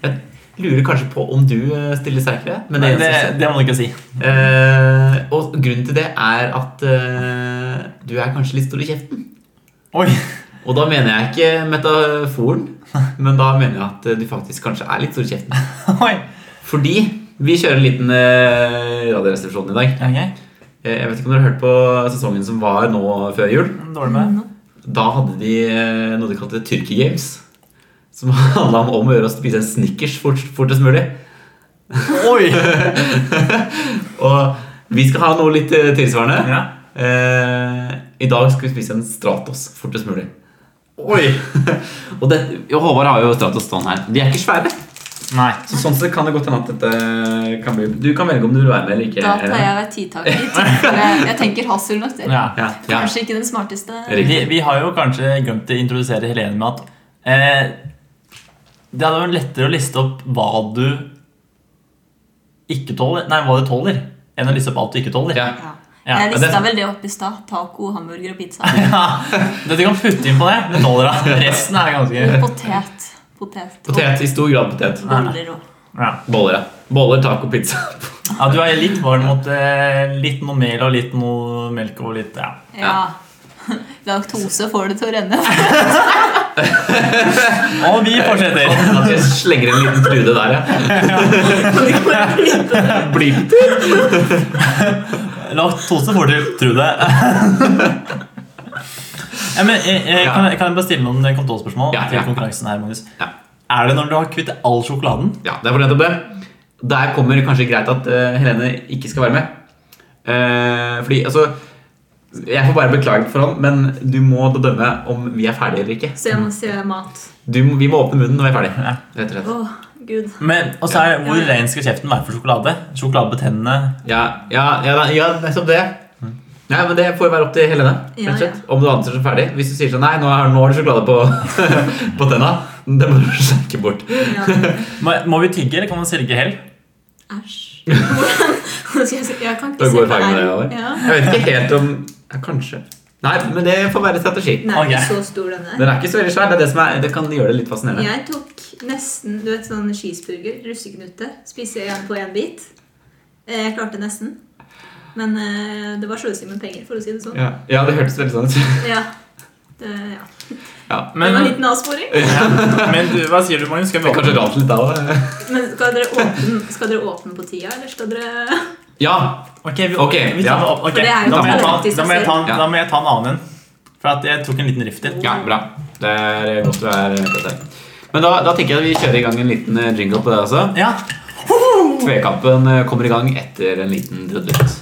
Speaker 1: Jeg lurer kanskje på om du eh, stiller sterkere. Men det,
Speaker 2: det,
Speaker 1: gjenstår å se.
Speaker 2: det må du ikke si.
Speaker 1: Eh, og grunnen til det er at eh, du er kanskje litt stor i kjeften.
Speaker 2: Oi!
Speaker 1: Og da mener jeg ikke metaforen, men da mener jeg at eh, du faktisk kanskje er litt stor i kjeften.
Speaker 2: Oi.
Speaker 1: Fordi vi kjører en liten eh, radioresepsjon i dag.
Speaker 2: Ok,
Speaker 1: Eh, Jeg vet ikke om dere har hørt på sesongen som var nå før jul.
Speaker 2: Dårlig med
Speaker 1: Da hadde de eh, noe de kalte Tyrkia Games. Som handla om om å gjøre å spise en Snickers fort, fortest mulig.
Speaker 2: Oi!
Speaker 1: Og vi skal ha noe litt eh, tilsvarende.
Speaker 2: Ja.
Speaker 1: Eh, I dag skal vi spise en Stratos fortest mulig.
Speaker 2: Oi!
Speaker 1: Og det, jo, Håvard har jo Stratos stående her. De er ikke svære.
Speaker 2: Nei.
Speaker 1: Så sånn sett kan det godt hende at dette kan bli Du kan velge om du vil være med eller ikke.
Speaker 3: Da tar jeg meg tidtaker. i tilfelle Jeg tenker hasselnøtter.
Speaker 2: Ja.
Speaker 1: Ja, ja.
Speaker 3: Kanskje ikke den smarteste.
Speaker 1: Riktig.
Speaker 2: Vi, vi har jo kanskje glemt å introdusere Helene med at eh, Det hadde vært lettere å liste opp hva du ikke tåler, nei, hva du tåler, enn å liste opp alt du ikke tåler.
Speaker 1: Ja.
Speaker 3: Ja.
Speaker 2: Ja,
Speaker 3: Jeg
Speaker 1: men
Speaker 3: lista
Speaker 1: det-
Speaker 3: vel det opp i stad. Taco, hamburger og pizza.
Speaker 2: Det du kan putte inn på det, det tåler jeg. Resten er
Speaker 3: Og
Speaker 2: ganske
Speaker 3: potet. Potet.
Speaker 1: Potet. I stor grad potet.
Speaker 3: Og boller og
Speaker 2: ja.
Speaker 1: Boller, ja. Boller, taco, pizza.
Speaker 2: ja, Du er litt varm mot eh, litt noe mel og litt noe melk og litt ja.
Speaker 3: Ja. Laktose får det til å renne.
Speaker 2: Og vi fortsetter.
Speaker 1: At jeg slenger en liten trude der, ja. Blip.
Speaker 2: Laktose får til, tro det. ja, men, eh, eh, kan, jeg, kan jeg bare stille noen eh, kontrollspørsmål
Speaker 1: Ja,
Speaker 2: til
Speaker 1: ja.
Speaker 2: konkurransen her, Magnus?
Speaker 1: Ja.
Speaker 2: Er det når du har kvittet all sjokoladen?
Speaker 1: Ja, det er for nettopp det. Der kommer kanskje greit at eh, Helene ikke skal være med. Eh, fordi, altså Jeg får bare beklage for han, men du må da dømme om vi er ferdige eller ikke.
Speaker 3: Så jeg må si mat.
Speaker 1: Du, må- vi må åpne munnen når vi er ferdige.
Speaker 2: Ja.
Speaker 1: Rett og slett.
Speaker 3: Å, gud.
Speaker 2: Men, og så er det, Hvor ren skal kjeften være for sjokolade? Sjokolade på tennene?
Speaker 1: Ja, ja, ja, da- ja nettopp det. Nei, men Det får jo være opp til Helene. rett
Speaker 3: Ja,
Speaker 1: og slett. Om du anser som ferdig. Hvis du sier sånn Nei, nå har, nå har du sjokolade på, på tenna. Det må du slenke bort.
Speaker 3: Ja.
Speaker 2: Må, må vi tygge, eller kan man svelge helt?
Speaker 3: Æsj. Hvordan hvordan skal jeg si Jeg kan
Speaker 1: Da
Speaker 3: ikke
Speaker 1: går
Speaker 3: se på
Speaker 1: fargen
Speaker 3: R.
Speaker 1: der over.
Speaker 3: Ja.
Speaker 1: Jeg vet ikke helt om ja, Kanskje. Nei, men det får være strategi.
Speaker 3: Den er ikke
Speaker 2: Ok.
Speaker 3: så stor, den der.
Speaker 1: Den er ikke så veldig svær. Det er det som er, det kan gjøre det litt fascinerende.
Speaker 3: Jeg tok nesten du vet, sånn cheeseburger, russeknute. Spiser jeg på én bit. Eh, Jeg klarte nesten. Men eh, det var sløsing med penger, for å si det sånn.
Speaker 1: Ja, ja det hørtes veldig sånn ut.
Speaker 3: Ja. Det, ja.
Speaker 1: Ja.
Speaker 3: det
Speaker 2: Men,
Speaker 3: var en liten avsporing.
Speaker 2: ja, men du, hva sier du, Magnus? Skal vi
Speaker 1: Men kanskje
Speaker 2: åpne?
Speaker 1: rant litt av det.
Speaker 3: Men skal dere, åpne, skal dere åpne på tida, eller skal dere
Speaker 1: Ja,
Speaker 2: Ok, vi,
Speaker 1: Ok,
Speaker 2: vi tar,
Speaker 1: ja.
Speaker 2: opp- ok.
Speaker 3: For det er jo
Speaker 2: Da, må jeg ta,
Speaker 3: faktisk
Speaker 2: da, må jeg ta,
Speaker 1: selv.
Speaker 2: da må jeg ta en annen en. For at jeg tok en liten rift i.
Speaker 1: ja bra. Det er godt du er på det. Men da, da tenker jeg at vi kjører i gang en liten eh, jingle på det også.
Speaker 2: Ja.
Speaker 1: Tvekampen eh, kommer i gang etter en liten trudelutt.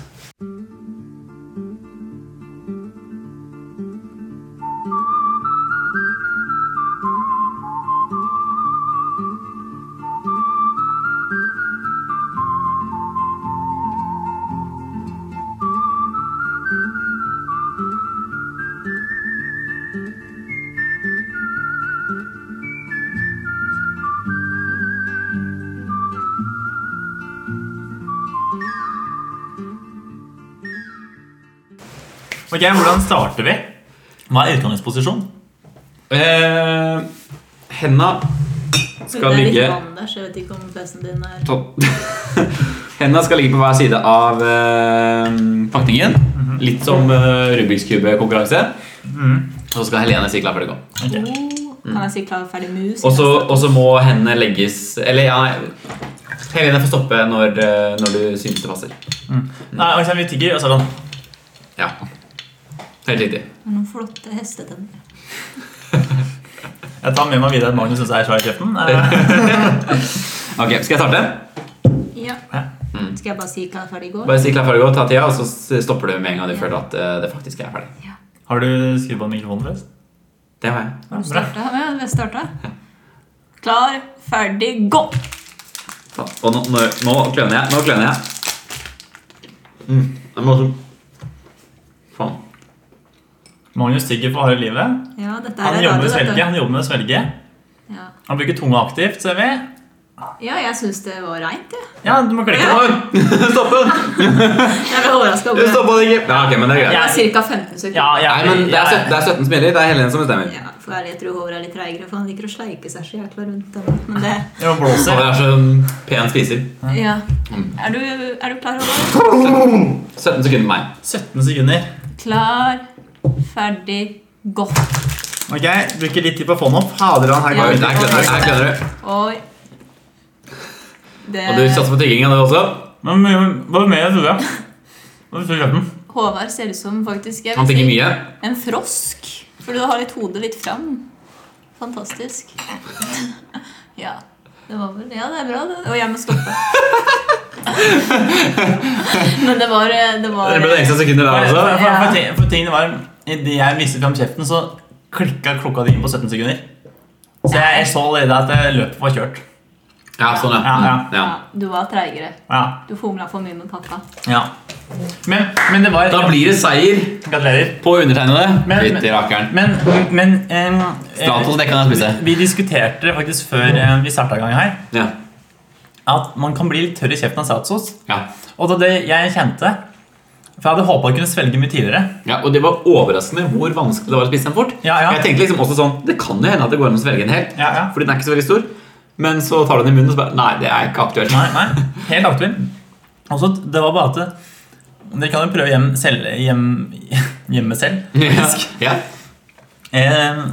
Speaker 2: Ok, Hvordan starter vi? Hva er utgangsposisjon?
Speaker 1: Eh, henda skal
Speaker 3: Det er litt
Speaker 1: ligge
Speaker 3: vann der, så jeg vet ikke om PC-en din er
Speaker 1: Topp. Henda skal ligge på hver side av eh, pakningen. Litt som eh, Rubiks kube-konkurranse. Og så skal Helene si klar før det går.
Speaker 3: oh, Kan jeg si klar, ferdig, mus?
Speaker 1: Mm. Og så, og så må hendene legges Eller ja, nei, Helene får stoppe når, eh, når du synes det passer.
Speaker 2: Nei, altså, Vi tygger, og så er det sånn
Speaker 1: Ja. Helt riktig.
Speaker 3: Det er Noen flotte hestetenner.
Speaker 2: Jeg tar med meg videre at Magnus syns jeg er svær i kjeften. Eh,
Speaker 1: Ok, Skal jeg starte?
Speaker 3: Ja.
Speaker 1: Mm.
Speaker 3: Skal jeg bare si klar, ferdig, gå?
Speaker 1: Bare si klar, ferdig, gå, ta tida, og så s- stopper du med en gang du føler at eh, det faktisk er ferdig.
Speaker 2: Har du skrudd på mikrofonen forresten?
Speaker 1: Det har jeg.
Speaker 2: Ja,
Speaker 3: Har du
Speaker 2: bra.
Speaker 3: startet? Ja, vi starta. Klar, ferdig, gå!
Speaker 1: Faen, Og nå, nå, nå kløner jeg. Nå kløner jeg. Mm. Jeg må også Faen.
Speaker 2: Magnus tygger for harde livet.
Speaker 3: Ja, dette her
Speaker 2: Han
Speaker 3: er
Speaker 2: jobber med å
Speaker 3: radio,
Speaker 2: svelge.
Speaker 3: dette.
Speaker 2: Han jobber med å svelge.
Speaker 3: Ja.
Speaker 2: Han bruker tunga aktivt, ser vi.
Speaker 3: ja, jeg syns det var reint, jeg.
Speaker 2: Ja, du må klikke.
Speaker 1: Oi! Stopp den!
Speaker 3: Jeg ble
Speaker 1: Du
Speaker 3: overraska over det.
Speaker 1: stoppa den ikke. Ja, ok, men det er
Speaker 3: Det
Speaker 1: greit.
Speaker 3: var ca. 15
Speaker 2: Ja,
Speaker 3: sekunder.
Speaker 2: jeg,
Speaker 1: Nei, men det er,
Speaker 2: jeg-
Speaker 1: 17, det er 17 som gjelder. Det er Helene som bestemmer.
Speaker 3: Ja, for ærlig, jeg tror Håvard er litt treigere, for han liker å sleike seg så jækla rundt. Den. Men det
Speaker 2: jeg
Speaker 1: Og
Speaker 2: må
Speaker 1: det
Speaker 2: blåse.
Speaker 1: er så sånn pen spiser.
Speaker 3: Ja. Er du, er du klar, Håvard?
Speaker 1: 17 sekunder med meg.
Speaker 2: 17 sekunder.
Speaker 3: Klar, ferdig, gå.
Speaker 2: Ok, Bruker litt tid på å få den opp. Fader, han her
Speaker 1: Oi,
Speaker 2: går
Speaker 1: Der kløner du. Der kløner du.
Speaker 3: Oi. Det,
Speaker 1: Og du satser på tygginga, du også?
Speaker 2: Men men, Hva mer jeg trodde? Hva vil du kjøpe den?
Speaker 3: Håvard ser ut som faktisk jeg vil
Speaker 1: Han tygger
Speaker 3: si,
Speaker 1: mye.
Speaker 3: en frosk. Fordi du har litt hodet litt fram. Fantastisk. Ja. Det var vel Ja, det er bra, det. Og jeg må stoppe. Men det var eh, Det var,
Speaker 1: Det ble det ekstra sekunder der
Speaker 2: For, for,
Speaker 1: også.
Speaker 2: for, for, ting- for tingene var Idet jeg viste fram kjeften, så klikka klokka di inn på 17 sekunder. Så jeg, jeg så allerede at eh, løpet var kjørt.
Speaker 1: Ja, sånn, ja.
Speaker 2: Ja, ja.
Speaker 1: Mm, ja.
Speaker 3: ja, eh, du var treigere.
Speaker 2: Ja,
Speaker 3: Du fomla for mye med pappa.
Speaker 2: ja. Men, men det var
Speaker 1: Da blir det seier
Speaker 2: Gratulerer.
Speaker 1: på undertegnede.
Speaker 2: Men-
Speaker 1: Fytti rakkeren.
Speaker 2: Men, men em, eh,
Speaker 1: Stratos, det kan jeg spise.
Speaker 2: Vi diskuterte faktisk før eh, vi starta gangen her,
Speaker 1: Ja.
Speaker 2: at man kan bli litt tørr i kjeften av Stratos.
Speaker 1: ja.
Speaker 2: Og det, var det jeg kjente For jeg hadde håpa å kunne svelge mye tidligere.
Speaker 1: Ja, og Det var overraskende hvor vanskelig det var å spise den fort.
Speaker 2: Ja, ja.
Speaker 1: Jeg tenkte liksom også sånn, Det kan jo hende at det går an å svelge den helt,
Speaker 2: Ja, ja.
Speaker 1: fordi den er ikke så veldig stor. Men så tar du den i munnen og så bare Nei, det er ikke aktuelt.
Speaker 2: Nei, nei, helt aktuell. Og så det var bare at det- Dere kan jo prøve hjem, selv, hjem, hjemme selv.
Speaker 1: Ja. ja.
Speaker 2: Eh,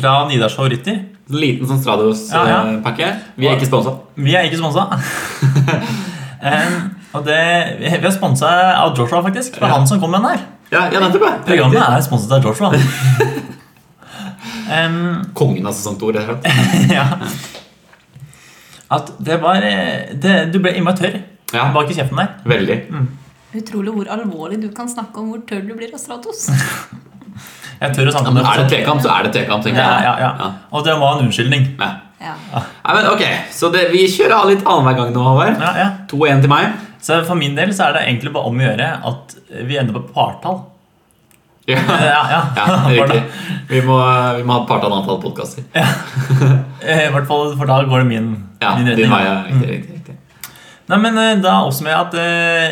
Speaker 2: fra Nidars favoritter.
Speaker 1: Liten sånn
Speaker 2: Ja, ja.
Speaker 1: Strados-pakke. Vi er ikke sponsa.
Speaker 2: Vi er ikke sponsa. eh, og det, vi er sponsa av Joshua, faktisk. Det var
Speaker 1: Ja.
Speaker 2: han som kom med den her.
Speaker 1: Ja, ja, nettopp. ja.
Speaker 2: Programmet er sponset av Joshua. Em,
Speaker 1: Kongen av sesong to, rett og slett.
Speaker 2: ja. At det var eh, det, Du ble innmari tørr
Speaker 1: Ja.
Speaker 2: bak i kjeften der.
Speaker 1: Veldig.
Speaker 3: Utrolig hvor alvorlig du kan snakke om hvor tørr du blir av Stratos.
Speaker 2: Jeg tør å
Speaker 1: Ja,
Speaker 2: snakke om
Speaker 1: men er det
Speaker 2: det.
Speaker 1: tvekamp, så er det tvekamp, tenker
Speaker 2: Ja,
Speaker 1: jeg.
Speaker 2: ja, ja.
Speaker 1: Ja.
Speaker 2: Og det var en unnskyldning.
Speaker 1: Nei.
Speaker 3: Ja.
Speaker 1: Nei, men ok, så det, vi kjører av litt annenhver gang nå, Håvard.
Speaker 2: Ja, ja.
Speaker 1: 2-1 til meg.
Speaker 2: Så for min del så er det egentlig bare om å gjøre at vi ender på partall.
Speaker 1: Ja, ja,
Speaker 2: Ja, ja.
Speaker 1: det er riktig.
Speaker 2: Partall.
Speaker 1: Vi må, vi må ha et partall antall podkaster.
Speaker 2: Eh, I hvert fall, for da går det min,
Speaker 1: Ja,
Speaker 2: min
Speaker 1: din
Speaker 2: retning. Mm.
Speaker 1: vei, ja. Riktig, riktig, riktig.
Speaker 2: Nei, men eh, Da oppsummerer jeg at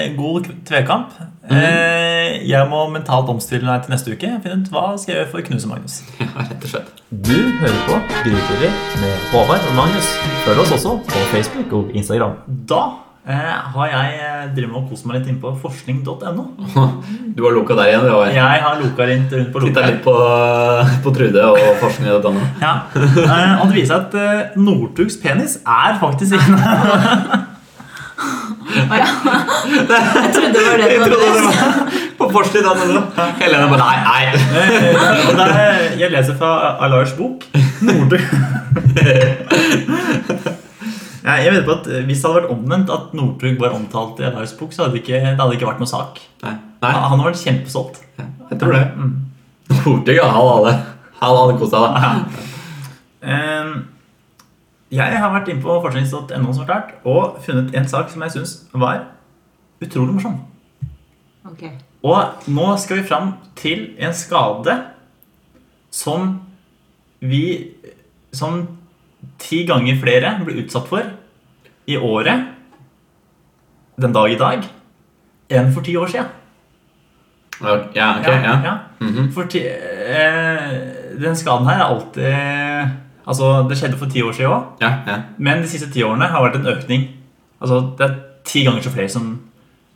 Speaker 2: eh, god k- tvekamp.
Speaker 1: Mhm.
Speaker 2: Eh, jeg må mentalt omstille meg til neste uke. Finne ut hva skal jeg gjøre for å knuse Magnus.
Speaker 1: Ja, rett og slett.
Speaker 2: Du hører på Grytidlig med Håvard og Magnus. Følg oss også på Facebook og Instagram. Da eh, har jeg eh, drevet med å kose meg litt inn på forskning.no.
Speaker 1: Du har loka der igjen, du, Håvard.
Speaker 2: Jeg har loka litt rundt på
Speaker 1: Titta
Speaker 2: loka.
Speaker 1: litt på, på Trude og forskning i dette.
Speaker 2: Ja. Eh, og det viser seg at eh, Northugs penis er faktisk inne.
Speaker 3: Å ja. Jeg trodde det var det
Speaker 1: Jeg
Speaker 3: du
Speaker 1: trodde det
Speaker 3: hadde lest.
Speaker 1: var på forskning Helene bare Nei, nei.
Speaker 2: Eh, og det er, jeg leser fra Alars bok. Northug. Nei, Jeg vet på at eh, Hvis det hadde vært omvendt at Northug var omtalt i Alars bok, så hadde det ikke, det hadde ikke vært noe sak.
Speaker 1: Nei, nei.
Speaker 2: Han hadde vært kjempesolgt. Mm.
Speaker 1: Jeg tror det. Northug, ja. Hal alle. Hal alle kosa deg.
Speaker 2: Ehm, Jeg har vært inne på forsknings.no som klart, og funnet en sak som jeg syns var utrolig morsom.
Speaker 3: Ok.
Speaker 2: Og nå skal vi fram til en skade som vi Som ti ganger flere blir utsatt for i året den dag i dag enn for ti år siden.
Speaker 1: Ja, Mhm. ok, ja.
Speaker 2: Ja. For ti, eh, den skaden her er alltid Altså, det skjedde for ti år siden òg.
Speaker 1: Ja, ja.
Speaker 2: Men de siste ti årene har vært en økning. Altså, Det er ti ganger så flere som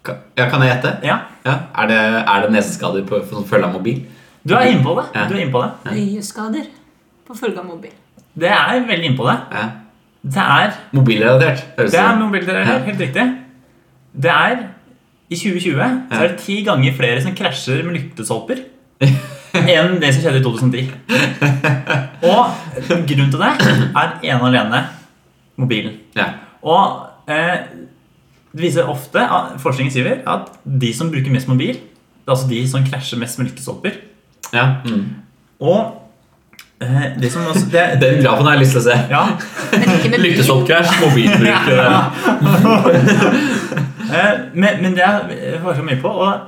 Speaker 1: Ka- ja kan jeg gjette?
Speaker 2: Ja,
Speaker 1: Ja. Er det, er det neseskader på, som følge av mobil?
Speaker 2: du er inne på det.
Speaker 1: Ja.
Speaker 2: Du er inne på det.
Speaker 3: Øyeskader på følge av mobil.
Speaker 2: Det er veldig inne på det.
Speaker 1: Ja.
Speaker 2: Det er,
Speaker 1: Mobilrelatert, høres
Speaker 2: det er
Speaker 1: ut som.
Speaker 2: mobiltelefoner,
Speaker 1: Ja.
Speaker 2: helt riktig. Det er I 2020 så
Speaker 1: Ja.
Speaker 2: er det ti ganger flere som krasjer med lyktestolper enn det som skjedde i 2010. Og grunnen til det er ene og alene mobilen.
Speaker 1: Ja.
Speaker 2: Og eh, det viser ofte, at- forskningen sier, at de som bruker mest mobil, det er altså de som krasjer mest med lyktestolper.
Speaker 1: Ja. Mm.
Speaker 2: Og eh, det som også det,
Speaker 1: Den grafen har jeg lyst til å se.
Speaker 2: ja,
Speaker 3: Men ikke med bil.
Speaker 1: Lyktestolpkrasj, mobilbruk ja.
Speaker 2: eh, men, men det jeg forsker mye på, og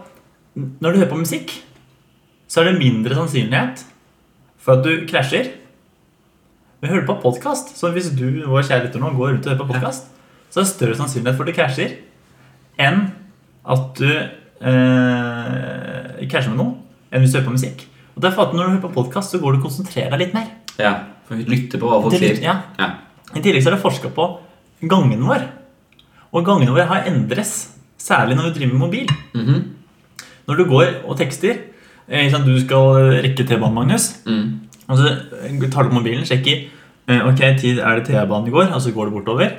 Speaker 2: når du hører på musikk, så er det mindre sannsynlighet for at du krasjer. Men hører du på podkast, så hvis du vår kjære lytter nå går rundt og hører på podkast, så er det større sannsynlighet for at du krasjer enn at du eh, krasjer med noen, enn hvis du hører på musikk. Og derfor at når du hører på podkast, så går du og konsentrerer deg litt mer.
Speaker 1: ja. For vi lytter på hva folk
Speaker 2: Det-
Speaker 1: sier.
Speaker 2: ja.
Speaker 1: Ja.
Speaker 2: I tillegg så er det forska på gangen vår. Og gangen vår har endres, særlig når du driver med mobil.
Speaker 1: Mhm.
Speaker 2: Når du går og tekster eh, sånn, Du skal rekke T-banen, Magnus.
Speaker 1: Mm.
Speaker 2: Og så eh, tar du opp mobilen, sjekker eh, Ok, tid er det T-banen i går, og så går du bortover.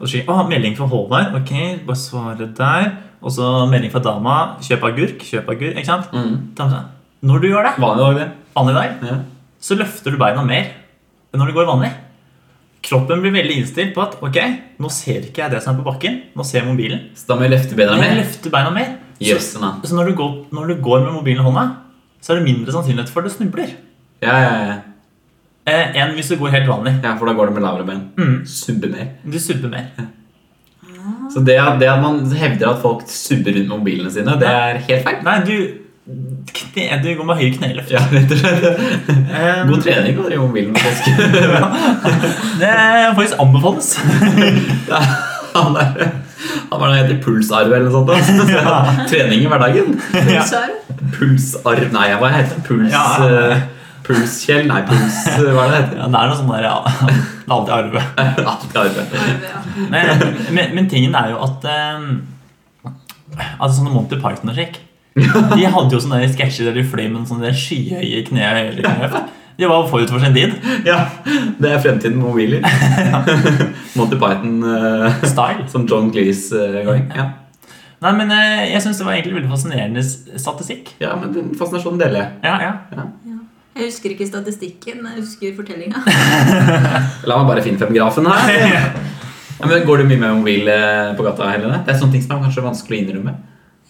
Speaker 2: Og så sjekker ah, melding fra Håvard. Ok, bare svare der. Og så melding fra dama. Kjøp agurk. Kjøp agurk. Ikke sant?
Speaker 1: Mm.
Speaker 2: Ta med seg. sånn, Når du gjør det,
Speaker 1: Vanlig dag, det.
Speaker 2: vanlig dag,
Speaker 1: Ja.
Speaker 2: så løfter du beina mer enn når du går vanlig. Kroppen blir veldig innstilt på at ok, nå ser ikke jeg det som er på bakken. Nå ser jeg mobilen.
Speaker 1: Så da må jeg løfte beina
Speaker 2: Jeg
Speaker 1: mer.
Speaker 2: løfter beina mer.
Speaker 1: Jøss,
Speaker 2: så
Speaker 1: da.
Speaker 2: så når, du går, når du går med mobilen i hånda, så er det mindre sannsynlighet for at du snubler
Speaker 1: Ja, ja, ja.
Speaker 2: eh, enn hvis du går helt vanlig.
Speaker 1: ja, for da går det med lavere bein.
Speaker 2: Mm.
Speaker 1: Subbe mer.
Speaker 2: Du subber mer.
Speaker 1: Så det, at- det at man hevder at folk subber rundt med mobilene sine, det er helt feil.
Speaker 2: Nei, du, kne, du går med høy kneløft.
Speaker 1: Ja, rett og slett.
Speaker 2: Eh,
Speaker 1: God trening å drive mobilen med folk.
Speaker 2: det faktisk anbefales.
Speaker 1: Han er han var noe heter pulsarv eller noe sånt. da.
Speaker 2: Ja.
Speaker 1: Trening i hverdagen.
Speaker 2: Ja.
Speaker 3: Så er det
Speaker 1: Pulsarv Nei, hva heter det? Puls,
Speaker 2: Ja.
Speaker 1: eh, Pulskjell? Nei, puls eh, Hva er det det
Speaker 2: Ja, det er noe sånn der, ja. Det er alltid arve.
Speaker 1: heter? Alltid arbeid.
Speaker 3: bare- ja.
Speaker 2: Men, men, men tingen er jo at eh, Altså sånne Monty Python og slik De hadde jo sånne der sketsjer der de fløy med sånne der skyhøye knær. De var forut for sin tid.
Speaker 1: Ja, Det er fremtiden med mobiler. Monty Python eh,
Speaker 2: Style.
Speaker 1: som John eh, Cleese-gang. Ja.
Speaker 2: Nei, men eh, jeg syns det var egentlig veldig fascinerende s- statistikk.
Speaker 1: ja, men den fascinasjonen deler jeg.
Speaker 2: Ja, ja.
Speaker 3: Jeg husker ikke statistikken, jeg husker fortellinga.
Speaker 1: La meg bare finne frem grafen her. Ja, men Går du mye med mobil eh, på gata? Helene? Det er sånne ting som er kanskje vanskelig å innrømme.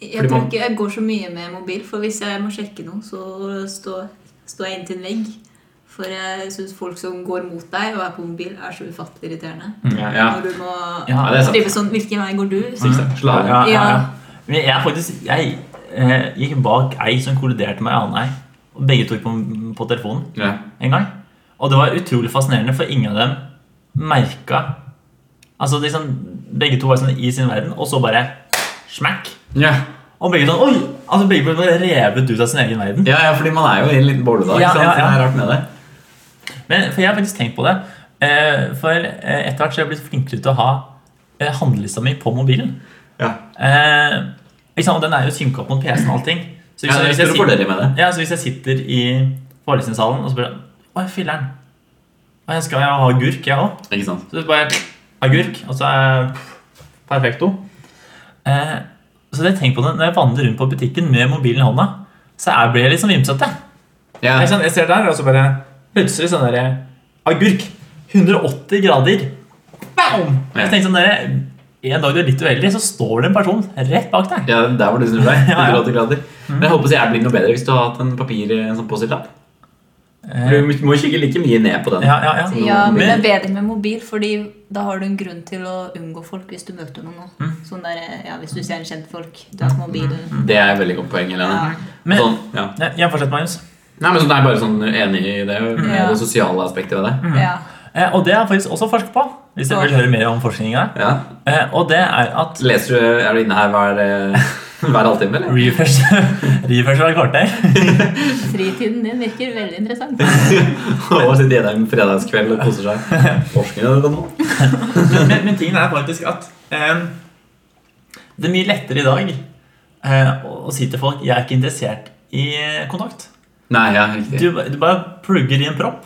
Speaker 3: Jeg
Speaker 1: Fordi
Speaker 3: tror
Speaker 1: man-
Speaker 3: ikke jeg går så mye med mobil, for hvis jeg må sjekke noe, så står står jeg inntil en vegg. For jeg syns folk som går mot deg og er på mobil, er så ufattelig irriterende.
Speaker 1: Ja, Mm. ja.
Speaker 3: Når du må
Speaker 2: Ja,
Speaker 1: det er sant.
Speaker 3: skrive sånn 'Hvilken vei går du?' Så,
Speaker 1: Ikke sant? Slager.
Speaker 2: Ja, ja,
Speaker 3: Ja.
Speaker 2: ja. Men jeg er faktisk Jeg eh, gikk bak ei som kolliderte med ei annen ei. Og begge tok på, på telefonen
Speaker 1: Ja.
Speaker 2: en gang. Og det var utrolig fascinerende, for ingen av dem merka Altså liksom Begge to var sånn i sin verden, og så bare smack.
Speaker 1: Ja.
Speaker 2: Og begge sånn Oi! Altså begge ble bare revet ut av sin egen verden.
Speaker 1: ja, ja, fordi man er jo i en liten boble da.
Speaker 2: Ja,
Speaker 1: Ikke sant?
Speaker 2: ja,
Speaker 1: Så
Speaker 2: ja.
Speaker 1: Det er rart med det.
Speaker 2: Men, for jeg har faktisk tenkt på det. Eh, for eh, etter hvert så er jeg blitt flinkere til å ha eh, handlelista mi på mobilen.
Speaker 1: Ja.
Speaker 2: Eh, ikke sant, og den er jo synka opp mot PC-en og allting. Så
Speaker 1: Ja, det er
Speaker 2: jeg
Speaker 1: store fordeler med det.
Speaker 2: ja, så hvis jeg sitter i forelesningssalen og så bare Å, filler'n. Å, Jeg skal jo ha agurk, jeg òg.
Speaker 1: Ikke sant?
Speaker 2: Så bare agurk, og så er perfekto. Eh, så det jeg tenker på det, Når jeg vandrer rundt på butikken med mobilen i hånda, så er- blir jeg litt sånn vimsete.
Speaker 1: Ja.
Speaker 2: Jeg, sånn, jeg ser der, og så bare plutselig sånn der Agurk! 180 grader. Bam! Jeg tenkte sånn der, En dag du er litt uheldig, så står det en person rett bak deg.
Speaker 1: Ja, der hvor du snur deg.
Speaker 2: Ja, Mm. ja.
Speaker 1: 180 grader. Men jeg håper så jeg blir noe bedre hvis du har hatt en papir, en sånn Post-It-lapp.
Speaker 2: Eh,
Speaker 1: For Du må kikke like mye ned på den.
Speaker 2: ja, ja, ja.
Speaker 3: ja, men det
Speaker 2: Men-
Speaker 3: er bedre med mobil, Fordi da har du en grunn til å unngå folk hvis du møter noen nå. Sånn der, ja, Hvis du ser en kjent folk, dra på mobilen.
Speaker 1: Det er et veldig godt poeng. Helene.
Speaker 2: Men-
Speaker 1: Sånn, ja.
Speaker 2: Ja, Jeg fortsetter, Magnus.
Speaker 1: Nei, men sånn, Det er bare sånn enig i det, med
Speaker 3: Ja.
Speaker 1: det sosiale aspektet ved det.
Speaker 3: Ja.
Speaker 2: Eh, og det har jeg faktisk også forsket på. Hvis dere vil høre mer om forskninga.
Speaker 1: Ja.
Speaker 2: Eh, og det er at
Speaker 1: Leser du, Er du inne her hver, eh, hver halvtime, eller?
Speaker 2: refresh refresh hvert kvarter.
Speaker 3: Fritiden din virker veldig interessant.
Speaker 1: Og sitter igjen en fredagskveld og koser seg. Forskning er det nå.
Speaker 2: Men, men tingen er faktisk at eh, det er mye lettere i dag eh, å, å si til folk jeg er ikke interessert i eh, kontakt.
Speaker 1: Nei, ja, riktig.
Speaker 2: Du, ba- du bare plugger i en propp,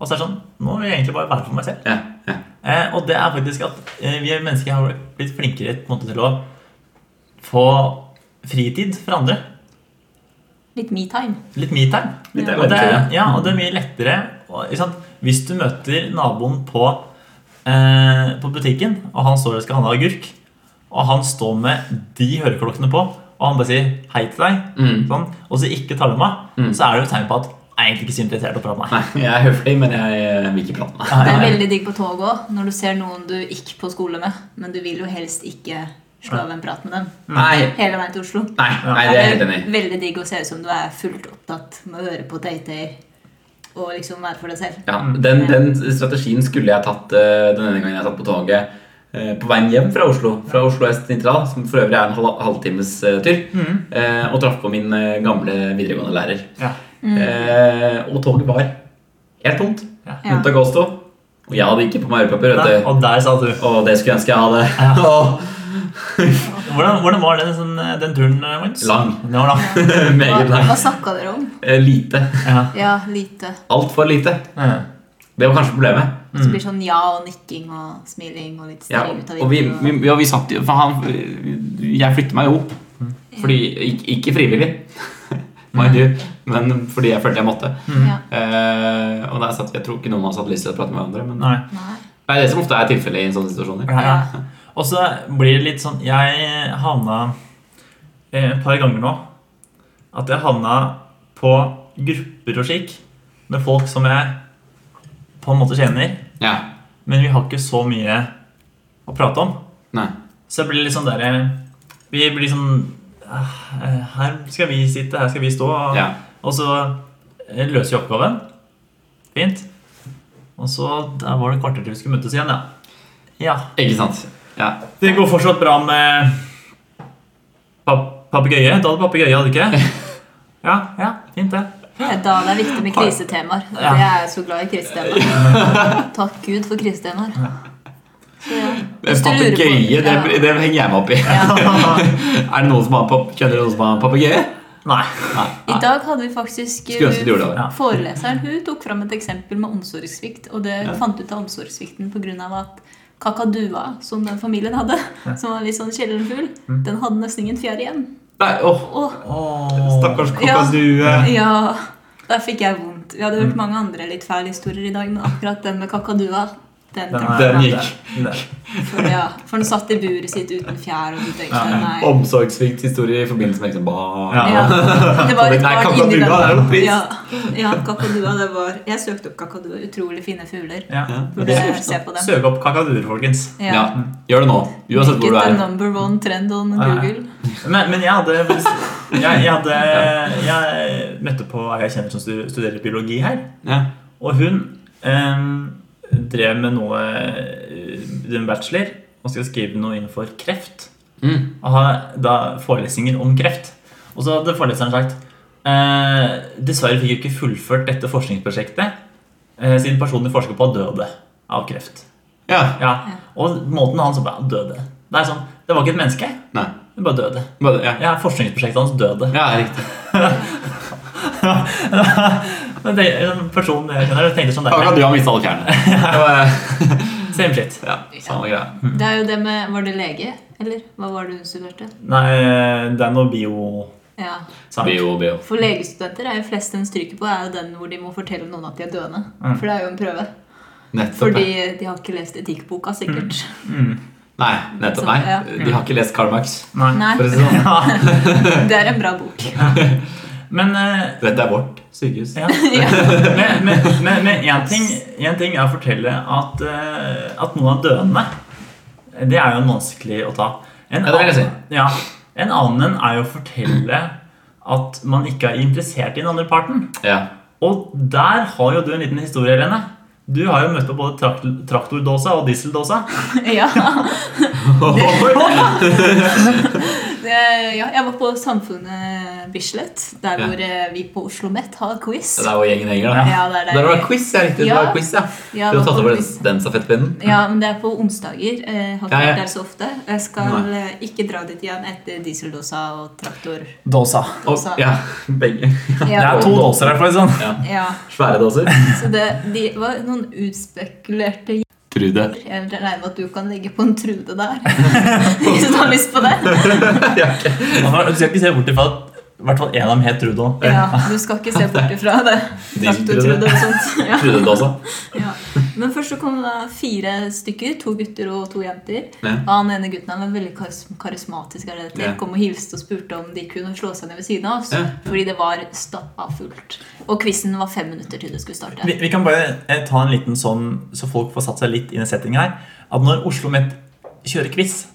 Speaker 2: og så er det sånn Nå vil jeg egentlig bare være for meg selv.
Speaker 1: Ja, ja.
Speaker 2: Eh, og det er faktisk at eh, vi mennesker har blitt flinkere på en måte til å få fritid fra andre.
Speaker 3: Litt metime.
Speaker 2: Litt me-time.
Speaker 1: Litt
Speaker 2: Og det, er-
Speaker 1: eventyr.
Speaker 2: ja, og det er mye lettere. Og, ikke sant? Hvis du møter naboen på, eh, på butikken, og han står og skal handle agurk, og han står med de høreklokkene på, og han bare sier hei til deg,
Speaker 1: Mm.
Speaker 2: sånn, og så ikke tar du meg,
Speaker 1: Mm.
Speaker 2: så er det jo et tegn på at jeg er egentlig ikke så interessert i å prate med deg.
Speaker 1: Nei, jeg er høflig, men jeg eh, vil ikke prate med deg.
Speaker 3: Det er veldig digg på toget òg, når du ser noen du gikk på skole med, men du vil jo helst ikke slå av en prat med dem
Speaker 1: Nei,
Speaker 3: hele veien til Oslo.
Speaker 1: nei, nei, det er jeg helt enig i.
Speaker 3: veldig digg å se ut som du er fullt opptatt med å høre på Tay-Tay og liksom være for deg selv.
Speaker 1: Ja,
Speaker 2: Mm.
Speaker 1: den, den strategien skulle jeg tatt eh, den ene gangen jeg satt på toget eh, på veien hjem fra Oslo. Fra Oslo S til Nitra, som for øvrig er en halv, halvtimes eh, tur.
Speaker 2: Mm.
Speaker 1: eh, Og traff på min eh, gamle videregående lærer.
Speaker 2: Ja.
Speaker 1: Eh, Og toget var helt tomt.
Speaker 2: Mm. Ja.
Speaker 3: Ja.
Speaker 1: Unntak oss to. Og jeg hadde ikke på meg ørepropper.
Speaker 2: Nei,
Speaker 1: vet du.
Speaker 2: Og der sa du.
Speaker 1: Og det skulle jeg ønske jeg hadde.
Speaker 2: Ja.
Speaker 1: Åh,
Speaker 2: Hvordan, hvordan var den, sånn, den turen, Magnus?
Speaker 1: Lang.
Speaker 2: Den var lang.
Speaker 3: Hva,
Speaker 1: Meget langt.
Speaker 3: hva snakka dere om?
Speaker 1: Eh, Lite.
Speaker 2: Ja.
Speaker 3: Ja, lite.
Speaker 1: Altfor lite.
Speaker 2: Ja.
Speaker 1: Det var kanskje problemet.
Speaker 3: Så blir det sånn ja og nikking og smiling og litt
Speaker 1: Mm. Ja,
Speaker 3: stirring ut av
Speaker 1: og vi,
Speaker 3: vinduet.
Speaker 1: vi, ja, vi satt jo For han Jeg flyttet meg jo opp. Fordi, ikke, ikke frivillig, mind you, men fordi jeg følte jeg måtte.
Speaker 3: Ja.
Speaker 1: Eh, og der satt vi, Jeg tror ikke noen av oss hadde lyst til å prate med hverandre. Men
Speaker 2: Nei.
Speaker 3: Nei.
Speaker 1: det er det som ofte er tilfellet i sånn sånne situasjoner.
Speaker 2: Ja, ja. Og så blir det litt sånn Jeg havna eh, et par ganger nå at jeg havna på grupper og slik med folk som jeg på en måte kjenner,
Speaker 1: Ja,
Speaker 2: men vi har ikke så mye å prate om.
Speaker 1: nei
Speaker 2: Så det blir litt sånn der eh, Vi blir sånn eh, Her skal vi sitte, her skal vi stå. Og,
Speaker 1: ja.
Speaker 2: og så eh, løser vi oppgaven. Fint. Og så der var det et kvarter til vi skulle møtes igjen, ja. ja.
Speaker 1: Ikke sant? Ja.
Speaker 2: Det går fortsatt bra med pap papegøye. Du hadde papegøye, hadde du ikke? Ja, ja, fint det.
Speaker 3: Det er Da det er viktig med krisetemaer.
Speaker 2: Ja.
Speaker 3: Jeg er så glad i krisetemaer. Takk Gud for krisetemaer. Så, ja. Hvis du lurer på-
Speaker 1: Papegøye, det,
Speaker 3: ja.
Speaker 1: det henger jeg meg opp i.
Speaker 3: Ja.
Speaker 1: Er det noen som har pap- kjenner du noen som har papegøye?
Speaker 2: Nei.
Speaker 1: Nei.
Speaker 3: I dag hadde vi faktisk eh,
Speaker 1: Skulle ønske du gjorde det.
Speaker 2: Ja.
Speaker 3: Foreleseren hun tok fram et eksempel med omsorgssvikt. Og det
Speaker 1: Ja.
Speaker 3: fant ut av omsorgssvikten pga. at kakadua, som den familien hadde, som var litt sånn kjellerfugl,
Speaker 1: Mm.
Speaker 3: den hadde nesten ingen fjær igjen.
Speaker 1: Nei, åh,
Speaker 3: Åh,
Speaker 1: stakkars kakadue.
Speaker 3: ja, Der fikk jeg vondt. Vi
Speaker 1: Mm.
Speaker 3: hadde hørt mange andre litt fæle historier i dag, men akkurat den med kakadua den,
Speaker 2: Den, er-
Speaker 3: traff
Speaker 1: Den
Speaker 3: meg.
Speaker 1: gikk.
Speaker 2: den-
Speaker 3: For, ja, for den satt i buret sitt uten fjær. og du tenkte, nei.
Speaker 1: Omsorgssvikt historie i forbindelse med liksom barn.
Speaker 2: Ja.
Speaker 3: Ja. Det var et
Speaker 1: Nei,
Speaker 3: barn
Speaker 1: kakadua
Speaker 3: inni den.
Speaker 1: er jo trist.
Speaker 3: Ja, ja, kakadua, det var Jeg søkte opp kakadua. Utrolig fine fugler.
Speaker 2: Ja.
Speaker 3: Burde jeg se på dem.
Speaker 2: Søk opp kakaduer, folkens.
Speaker 3: Ja.
Speaker 1: Ja, Gjør det nå. Uansett hvor du
Speaker 3: Get the
Speaker 1: er.
Speaker 3: number one trend on
Speaker 2: Ja, ja.
Speaker 3: Google.
Speaker 2: Men, men jeg hadde Jeg, jeg, hadde, jeg møtte på ei jeg kjenner som stu- studerer biologi her.
Speaker 1: Ja.
Speaker 2: Og hun eh, drev med noe eh, drev med bachelor og skal skrive noe innenfor kreft.
Speaker 1: Mm.
Speaker 2: Og har da forelesninger om kreft. Og så hadde foreleseren sagt eh, Dessverre fikk jeg ikke fullført dette forskningsprosjektet eh, siden personen de forsker på, døde av kreft.
Speaker 1: ja.
Speaker 2: Ja, Og måten han så bare døde. Det er sånn, det var ikke et menneske.
Speaker 1: Nei.
Speaker 2: Det bare døde.
Speaker 1: Bare, ja.
Speaker 2: Ja, Forskningsprosjektet hans døde.
Speaker 1: ja, riktig.
Speaker 2: Men det, den personen jeg kjenner, tenkte sånn der.
Speaker 1: Kakadue har mistet all kjernen.
Speaker 2: Same shit.
Speaker 1: Ja, samme greia.
Speaker 3: Det er jo det med Var det lege, eller? Hva var det hun studerte?
Speaker 2: Nei, det er noe bio-sak.
Speaker 3: Ja.
Speaker 1: Bio, bio.
Speaker 3: For legestudenter er jo flest den stryker på, er jo den hvor de må fortelle noen at de er døende.
Speaker 1: Mm.
Speaker 3: For det er jo en prøve.
Speaker 1: Nettopp.
Speaker 3: Fordi
Speaker 1: ja.
Speaker 3: de har ikke lest etikkboka, sikkert.
Speaker 1: Nei, nettopp.
Speaker 3: Så, ja.
Speaker 1: Nei. De har ikke lest Karl Marx.
Speaker 2: Nei.
Speaker 3: Nei,
Speaker 1: For å si det sånn.
Speaker 3: det er en bra bok.
Speaker 2: Men eh,
Speaker 1: Dette er vårt sykehus.
Speaker 2: ja. Men- men- men- men én ting, en ting er å fortelle at, eh, at noen er døende. Det er jo vanskelig å ta. En
Speaker 1: Ja, det vil jeg si.
Speaker 2: annen- Ja, en annen er jo å fortelle at man ikke er interessert i den andre parten.
Speaker 1: Ja.
Speaker 2: Og der har jo du en liten historie, Helene. Du har jo møtt på både trakt- traktordåsa og dieseldåsa.
Speaker 3: Ja.
Speaker 2: Oi.
Speaker 3: Det, ja, jeg var på Samfunnet Bislett, der
Speaker 1: Ja.
Speaker 3: hvor eh, vi på Oslo Met har quiz.
Speaker 1: Det er vår egen henger, da.
Speaker 3: Ja, det er
Speaker 1: Der var
Speaker 3: der.
Speaker 1: det quiz, ja. Riktig.
Speaker 3: Ja.
Speaker 1: Det var quiz, ja.
Speaker 3: Ja,
Speaker 1: Du har
Speaker 3: det
Speaker 1: tatt
Speaker 3: var
Speaker 1: over den,
Speaker 3: quiz.
Speaker 1: den stafettpinnen?
Speaker 3: Ja, men det er på onsdager. Jeg har ikke
Speaker 1: Ja, ja.
Speaker 3: vært der så ofte. Jeg skal eh, ikke dra dit igjen etter dieseldåsa og traktor.
Speaker 2: Dåsa.
Speaker 1: Og,
Speaker 3: Også.
Speaker 1: ja, begge.
Speaker 2: Det
Speaker 3: Ja,
Speaker 2: er to dåser her, for å si det sånn.
Speaker 3: ja.
Speaker 1: Svære dåser.
Speaker 3: Så det de var noen utspekulerte jenter.
Speaker 1: Trude.
Speaker 3: Jeg regner med at du kan legge på en Trude der. Hvis du har lyst på det.
Speaker 2: Du skal ikke se bort ifra at i hvert fall én av dem het Eh, Trudeau.
Speaker 3: Ja, Du skal ikke se bort ifra det.
Speaker 1: Diesel-Trude.
Speaker 3: Traktor-Trude og sånt. Ja.
Speaker 1: Trudedåsa.
Speaker 3: Ja. Men først så kom det fire stykker, to gutter og to jenter.
Speaker 1: Ja.
Speaker 3: Og han ene gutten han var veldig karis karismatisk. Er det til.
Speaker 1: Ja.
Speaker 3: Kom og hilste og spurte om de kunne slå seg ned ved siden av oss.
Speaker 1: Ja.
Speaker 3: Fordi det var stappa fullt. Og quizen var fem minutter til det
Speaker 2: Vi,
Speaker 3: skulle starte.
Speaker 2: vi kan bare eh, ta en liten sånn, så folk får satt seg litt inn i settingen her. At når Oslo Met kjører quiz,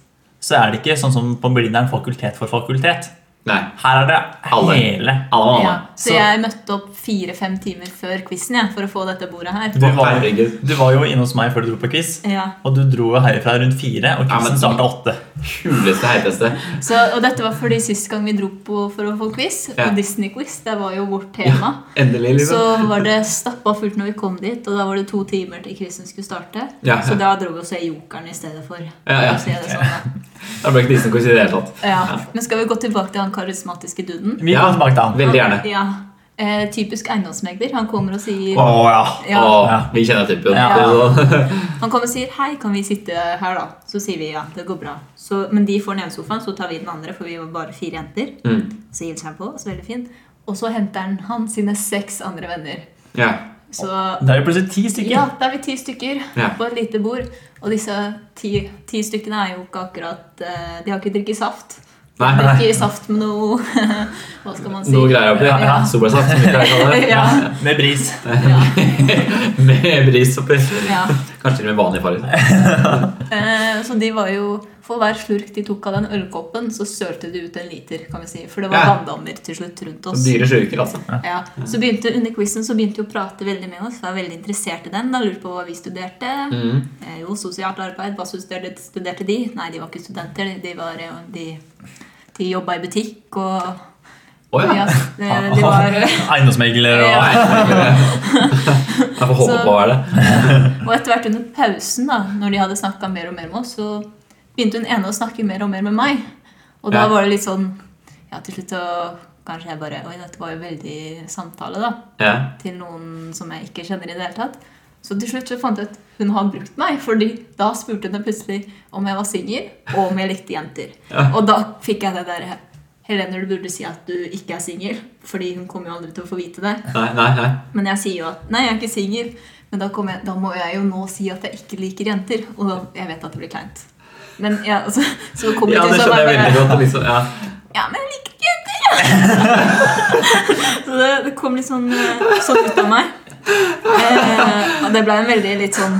Speaker 2: så er det ikke sånn som på Blindern fakultet for fakultet.
Speaker 1: Nei.
Speaker 2: Her er det
Speaker 1: Alle.
Speaker 2: hele.
Speaker 1: Alle var
Speaker 3: Ja.
Speaker 1: med.
Speaker 3: Så jeg møtte opp fire-fem timer før quizen jeg, for å få dette bordet her.
Speaker 2: Du var,
Speaker 1: Herregud.
Speaker 2: du var jo inne hos meg før du dro på quiz,
Speaker 3: Ja.
Speaker 2: og du dro jo herifra rundt fire, og
Speaker 1: Ja, men-
Speaker 2: quizen starta åtte.
Speaker 1: Kuleste, heiteste.
Speaker 3: Så, og dette var fordi sist gang vi dro på for å få quiz,
Speaker 1: Ja.
Speaker 3: og Disney-quiz, det var jo vårt tema.
Speaker 1: Endelig,
Speaker 3: Så
Speaker 1: liksom.
Speaker 3: var det stappa fullt når vi kom dit, og da var det to timer til quizen skulle starte.
Speaker 1: Ja, ja.
Speaker 3: Så da dro vi og så Jokeren i stedet for.
Speaker 1: Ja, ja.
Speaker 3: for å si det sånn,
Speaker 1: Det ble ikke Disney-quiz i det hele tatt.
Speaker 3: da. ja. Men skal vi gå tilbake til han karismatiske duden?
Speaker 2: Vi
Speaker 1: Ja.
Speaker 2: går tilbake til han.
Speaker 1: Veldig gjerne.
Speaker 3: Ja. Eh, typisk eiendomsmegler. Han kommer og
Speaker 2: Å
Speaker 3: sier
Speaker 2: ja.
Speaker 3: ja,
Speaker 1: Åh,
Speaker 2: Ja.
Speaker 1: vi kjenner typen.
Speaker 3: Ja.
Speaker 1: Det er sånn. så-
Speaker 3: Han kommer og sier 'Hei, kan vi sitte her', da? Så sier vi ja, det går bra. Så, men de får den ene sofaen, så tar vi den andre, for vi var bare fire jenter.
Speaker 1: Mm.
Speaker 3: Så hilser han på oss, veldig fin. Og så henter han, han sine seks andre venner.
Speaker 1: Ja.
Speaker 3: Så
Speaker 2: Det er jo plutselig ti stykker.
Speaker 3: Ja, da er vi ti stykker
Speaker 1: Ja.
Speaker 3: på et lite bord. Og disse ti, ti stykkene er jo ikke akkurat eh, De har ikke drikket saft. De
Speaker 1: Nei.
Speaker 3: drikker saft med noe Hva skal man si?
Speaker 1: Noe greier oppi.
Speaker 3: Ja, ja.
Speaker 1: Solbærsaft, som vi pleier å kalle det.
Speaker 3: Ja.
Speaker 2: Med bris.
Speaker 3: Ja,
Speaker 1: Med bris oppi.
Speaker 3: ja.
Speaker 1: Kanskje til og med vanlig farge.
Speaker 3: Eh, Så de var jo For hver slurk de tok av den ølkoppen, så sølte de ut en liter, kan vi si. For det var
Speaker 1: Ja.
Speaker 3: vanndammer til slutt rundt
Speaker 1: Så
Speaker 3: oss.
Speaker 1: Dyre slurker, altså.
Speaker 3: Ja. Så begynte Under quizen så begynte de å prate veldig med oss. Var veldig interessert i den. Da lurte på hva vi studerte.
Speaker 1: Mm.
Speaker 3: Eh, Jo, sosialt arbeid. Hva studerte, studerte de? Nei, de var ikke studenter. De, de, var, eh, de, de jobba i butikk og
Speaker 1: Å ja. Ah.
Speaker 3: ja, eh, de var,
Speaker 2: Eiendomsmegler og
Speaker 3: Ja.
Speaker 1: Jeg får håpe
Speaker 3: Så-
Speaker 1: på hva er det.
Speaker 3: Og etter hvert under pausen, da når de hadde snakka mer og mer med oss, så begynte hun ene å snakke mer og mer med meg. Og
Speaker 1: Ja.
Speaker 3: da var det litt sånn Ja, til slutt så Kanskje jeg bare Oi, dette var jo veldig samtale, da.
Speaker 1: Ja.
Speaker 3: Til noen som jeg ikke kjenner i det hele tatt. Så til slutt så fant jeg ut hun har brukt meg, fordi da spurte hun meg plutselig om jeg var singel, og om jeg likte jenter.
Speaker 1: Ja.
Speaker 3: Og da fikk jeg det derre Helene, du burde si at du ikke er singel, fordi hun kommer jo aldri til å få vite det.
Speaker 1: Nei, nei, nei.
Speaker 3: Men jeg sier jo at nei, jeg er ikke singel. Men da, kommer jeg, da må jeg jo nå si at jeg ikke liker jenter. Og da, jeg vet at det blir kleint. Men ja, altså, så kommer
Speaker 1: Ja,
Speaker 3: det
Speaker 1: det
Speaker 3: til å
Speaker 1: skjønner jeg
Speaker 3: være
Speaker 1: veldig godt. Liksom, ja.
Speaker 3: Ja, men jeg liker ikke jenter! så det, det kom litt sånn, eh, sånn ut av meg. Eh, og det ble en veldig litt sånn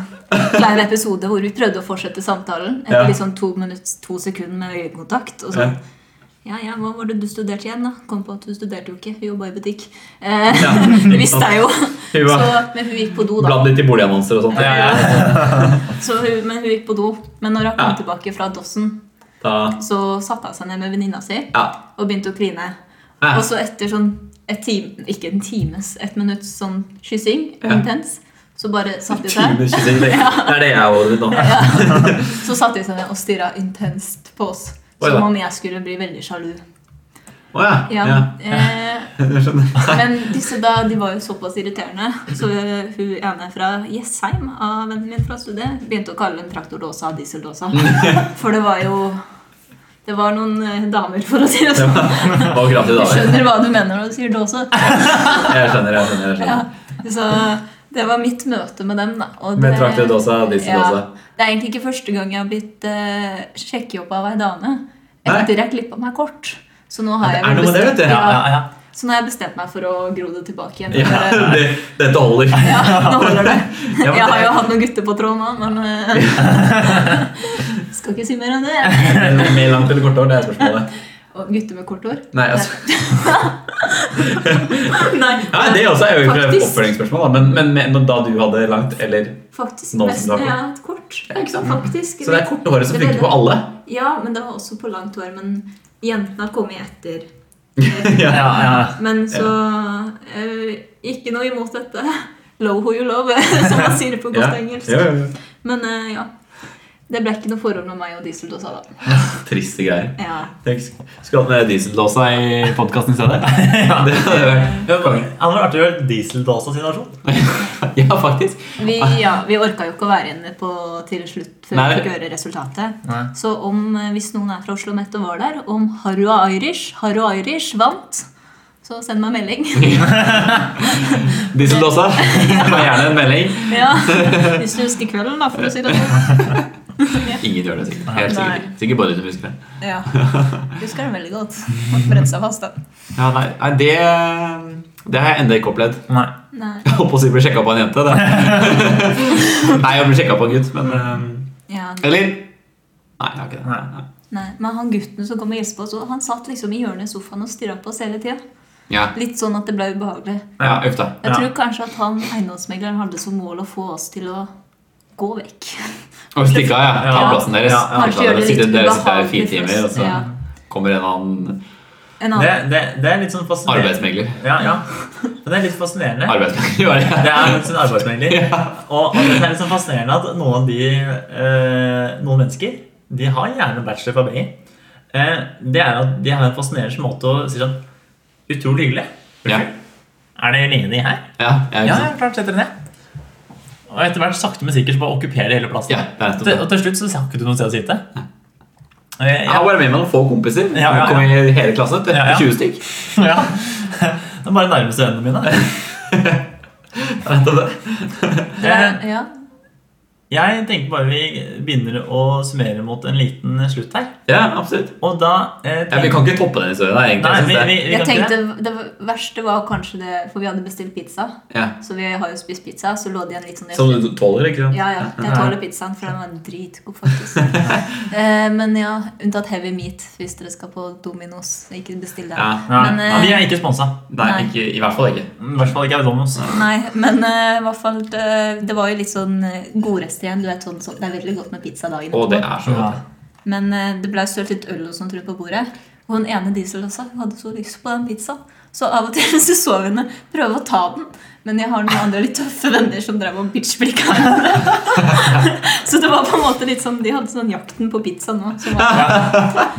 Speaker 3: klein episode hvor vi prøvde å fortsette samtalen etter
Speaker 1: Ja.
Speaker 3: litt sånn to, minutter, to sekunder med øyekontakt. Og sånn. Ja, ja, hva var det du studerte igjen, da? Kom på at du studerte jo ikke. Vi jobba i butikk. Eh,
Speaker 1: Ja,
Speaker 3: det
Speaker 1: ikke
Speaker 3: visste jeg jo.
Speaker 1: Hun
Speaker 3: Så,
Speaker 1: var
Speaker 3: men hun gikk på do, da.
Speaker 1: bladd litt i boligannonser og sånt.
Speaker 2: Ja, ja.
Speaker 3: Så hun, men hun gikk på do. Men når hun kom
Speaker 1: Ja.
Speaker 3: tilbake fra dossen,
Speaker 1: Da,
Speaker 3: så satte hun seg ned med venninna si
Speaker 1: ja.
Speaker 3: og begynte å kline.
Speaker 1: Ja.
Speaker 3: Og så etter sånn et time, ikke en times, et minutts sånn kyssing,
Speaker 1: Ja.
Speaker 3: intens, så bare satte de seg.
Speaker 1: Timer kyssing. Det liksom. det er det jeg holder ut nå.
Speaker 3: Ja. Så satte de seg ned og stirra intenst på oss.
Speaker 1: Oi,
Speaker 3: Som
Speaker 1: da.
Speaker 3: om jeg skulle bli veldig sjalu.
Speaker 1: Å ja.
Speaker 3: Ja.
Speaker 1: ja.
Speaker 3: Eh,
Speaker 1: Jeg skjønner.
Speaker 3: men disse da, de var jo såpass irriterende, så eh, hun ene fra Jessheim, av vennen min fra studiet, begynte å kalle den traktordåsa dieseldåsa.
Speaker 1: Mm.
Speaker 3: For det var jo Det var noen eh, damer, for å si det sånn.
Speaker 1: Og kraftig
Speaker 3: Du
Speaker 1: dame.
Speaker 3: skjønner hva du mener når du sier dåse.
Speaker 1: Jeg skjønner, jeg skjønner. jeg
Speaker 3: Ja,
Speaker 1: skjønner.
Speaker 3: så det var mitt møte med dem, da. Og
Speaker 1: Med
Speaker 3: det-
Speaker 1: traktet også, disse
Speaker 3: Ja.
Speaker 1: også.
Speaker 3: Det er egentlig ikke første gang jeg har blitt eh, sjekkejobb av ei dame
Speaker 1: Nei.
Speaker 3: etter jeg klippa meg kort. Så nå har
Speaker 1: Ja, det
Speaker 3: jeg vel
Speaker 1: er noe med det,
Speaker 3: bestemt-
Speaker 1: vet du.
Speaker 2: Ja, ja, ja.
Speaker 3: Ja, så nå har jeg bestemt meg for å gro det tilbake igjen.
Speaker 1: Ja,
Speaker 3: For, eh,
Speaker 1: det, dette holder.
Speaker 3: ja, nå holder det.
Speaker 1: Ja, men
Speaker 3: Jeg har
Speaker 1: det-
Speaker 3: jo hatt noen gutter på tråden nå, men eh, Skal ikke si mer enn det.
Speaker 1: Med langt eller kort hår, det er spørsmålet.
Speaker 3: Og gutter med kort hår?
Speaker 1: Nei, altså.
Speaker 3: Nei,
Speaker 1: Nei, det også er jo et
Speaker 3: Faktisk.
Speaker 1: oppfølgingsspørsmål, da. Men, men, men da du hadde langt eller
Speaker 3: Faktisk
Speaker 1: Nå som
Speaker 3: mest
Speaker 1: du har kort.
Speaker 3: ja, et kort.
Speaker 1: Ja, ikke sant?
Speaker 3: Faktisk.
Speaker 1: Så det er korte håret som funker på alle.
Speaker 3: Ja, men det var også på langt hår. Men jentene har kommet etter.
Speaker 1: Ja.
Speaker 2: ja, ja.
Speaker 3: Men så eh, Ikke noe imot dette. Love who you love, som man sier på godt
Speaker 1: Ja.
Speaker 3: engelsk.
Speaker 1: Ja, ja, ja.
Speaker 3: Men eh, ja. Det ble ikke noe forhold mellom meg og Dieseldåsa da.
Speaker 1: Triste greier.
Speaker 3: Ja.
Speaker 1: Tenk, Skulle hatt med diesellåsa i podkasten i stedet.
Speaker 2: Ja.
Speaker 1: Det hadde vært
Speaker 2: Det var konge. Han har vært i en dieseldåsa-situasjon.
Speaker 1: Ja, faktisk.
Speaker 3: Vi, ja, vi orka jo ikke å være inne på til slutt før
Speaker 1: Ah. Nei.
Speaker 3: vi fikk høre resultatet.
Speaker 2: Nei.
Speaker 3: Så om, eh, hvis noen er fra Oslo Met og var der, om Harua Irish, Harua Irish vant, så send meg melding.
Speaker 1: Dieseldåsa. Få gjerne en melding.
Speaker 3: Ja, Hvis du husker kvelden, da, for å si det sånn.
Speaker 1: Ingen gjør det sikkert. Helt
Speaker 3: Nei.
Speaker 1: sikkert. Sikkert bare du som husker det.
Speaker 3: Ja. Husker den veldig godt. Måtte brenne seg fast, da.
Speaker 1: Ja, nei, nei, eh, det, det har jeg enda ikke opplevd.
Speaker 2: Nei.
Speaker 3: Nei.
Speaker 1: Jeg holdt på å si ble sjekka opp av en jente. Det. Nei, jeg ble sjekka opp av en gutt, men eh,
Speaker 3: Ja,
Speaker 1: Eller? Nei, jeg har ikke det.
Speaker 2: Nei.
Speaker 1: Nei.
Speaker 3: nei. Men han gutten som kom og hilste på oss, og han satt liksom i hjørnet i sofaen og stirra på oss hele tida.
Speaker 1: Ja,
Speaker 3: Litt sånn at det ble ubehagelig.
Speaker 1: ja uff da.
Speaker 3: Jeg
Speaker 2: Ja.
Speaker 3: tror kanskje at han eiendomsmegleren hadde som mål å få oss til å gå vekk.
Speaker 1: Og stikke av, ja. Ta
Speaker 2: Ja.
Speaker 1: plassen deres.
Speaker 2: Ja, ja.
Speaker 1: Ta plassen
Speaker 3: Kanskje gjøre det
Speaker 1: deres.
Speaker 3: litt
Speaker 1: Sitter- Dere sitter her i
Speaker 3: ubehagelig
Speaker 1: fire
Speaker 3: for
Speaker 1: timer, og
Speaker 3: oss.
Speaker 1: så
Speaker 3: Ja.
Speaker 1: kommer en annen
Speaker 3: En
Speaker 2: Det,
Speaker 3: annen.
Speaker 2: det, det er litt sånn fascinerende.
Speaker 1: arbeidsmegler.
Speaker 2: Ja, ja. Men det er litt fascinerende.
Speaker 1: Arbeidsmegler, var det.
Speaker 2: Det er litt sånn arbeidsmengder. Og, og det er litt sånn fascinerende at noen av de eh, Noen mennesker de har gjerne bachelor fra BI. Eh, det er at de har en fascinerende måte å si sånn Utrolig hyggelig.
Speaker 1: Ja,
Speaker 2: Er det lenge de er her?
Speaker 1: ja, ja, ikke
Speaker 2: Ja,
Speaker 1: sant.
Speaker 2: ja, klart setter den ned. Og etter hvert sakte, men sikkert så bare okkuperer hele plassen.
Speaker 1: Ja, det er nettopp det.
Speaker 2: Til- og til slutt så har ikke du noe sted å sitte.
Speaker 1: Jeg
Speaker 2: Eh,
Speaker 1: har bare med meg noen få kompiser.
Speaker 2: Ja, ja, ja.
Speaker 1: Kom i hele klassen. vet du.
Speaker 2: Ja, ja.
Speaker 1: 20 stykk.
Speaker 2: ja. Det er bare nærmeste vennene mine.
Speaker 3: Det er- ja.
Speaker 2: Jeg tenker bare vi begynner å summere mot en liten slutt her.
Speaker 1: Ja, absolutt.
Speaker 2: Og da eh,
Speaker 1: Ja, vi kan ikke toppe den historien. da, egentlig. jeg
Speaker 2: Nei, vi,
Speaker 1: synes
Speaker 2: vi, vi
Speaker 3: Jeg
Speaker 2: kan ikke det.
Speaker 3: tenkte Det verste var kanskje det For vi hadde bestilt pizza,
Speaker 1: det. Ja.
Speaker 3: så vi har jo spist pizza. Så lå det igjen litt sånn i
Speaker 1: Som du tåler, ikke sant?
Speaker 3: Ja, ja. Jeg tåler pizzaen, for den var dritgod, faktisk. Eh, Men ja, unntatt heavy meat, hvis dere skal på Dominos. Ikke bestill det.
Speaker 1: Ja.
Speaker 2: Nei,
Speaker 3: Men, eh,
Speaker 2: vi er ikke sponsa.
Speaker 1: Nei,
Speaker 3: Nei.
Speaker 1: ikke, i hvert fall ikke.
Speaker 2: I hvert fall ikke Audonos.
Speaker 3: Nei, men eh, i hvert fall eh, Det var jo litt sånn eh, godrester igjen. Du vet, sånn, sånn, det er veldig godt med pizza dagen
Speaker 1: Og det
Speaker 3: etterpå.
Speaker 1: er så godt.
Speaker 3: Men eh, det ble sølt litt øl og sånt rundt på bordet. Og hun ene diesel også hun hadde så lyst på den pizzaen. Så av og til hvis du så henne, prøve å ta den. Men jeg har noen andre litt tøffe venner som drev og bitchblikka henne. så det var på en måte litt sånn De hadde sånn jakten på pizza nå. Som var,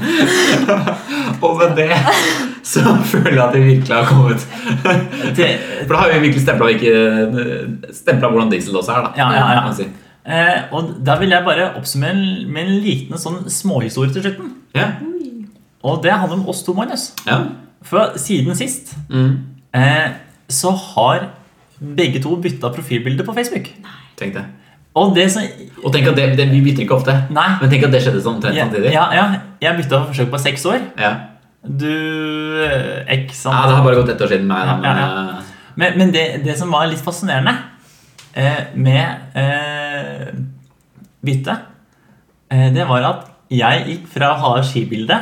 Speaker 1: Og med det så føler jeg at vi virkelig har kommet
Speaker 2: Til,
Speaker 1: For da har vi virkelig stempla, ikke, eh, stemplet hvordan diesel også er, da.
Speaker 2: Ja, ja, ja.
Speaker 1: kan man si.
Speaker 2: eh, og da vil jeg bare oppsummere med en liten sånn småhistorie til slutten.
Speaker 1: ja.
Speaker 2: Og det handler om oss to, Magnus.
Speaker 1: ja.
Speaker 2: For siden sist
Speaker 1: Mm.
Speaker 2: eh, så har begge to bytta profilbilde på Facebook.
Speaker 1: Tenk det.
Speaker 2: Og det som
Speaker 1: Og tenk at det, det, vi bytter ikke ofte.
Speaker 2: Nei.
Speaker 1: Men tenk at det skjedde sånn omtrent
Speaker 2: Ja,
Speaker 1: samtidig.
Speaker 2: ja, ja, jeg bytta forsøk på seks år.
Speaker 1: Ja.
Speaker 2: Du eh, X
Speaker 1: ja, Det har bare gått ett år siden meg, da. Men,
Speaker 2: Ja, ja. Men, men det, det som var litt fascinerende eh, med eh, byttet, eh, det var at jeg gikk fra å ha skibilde,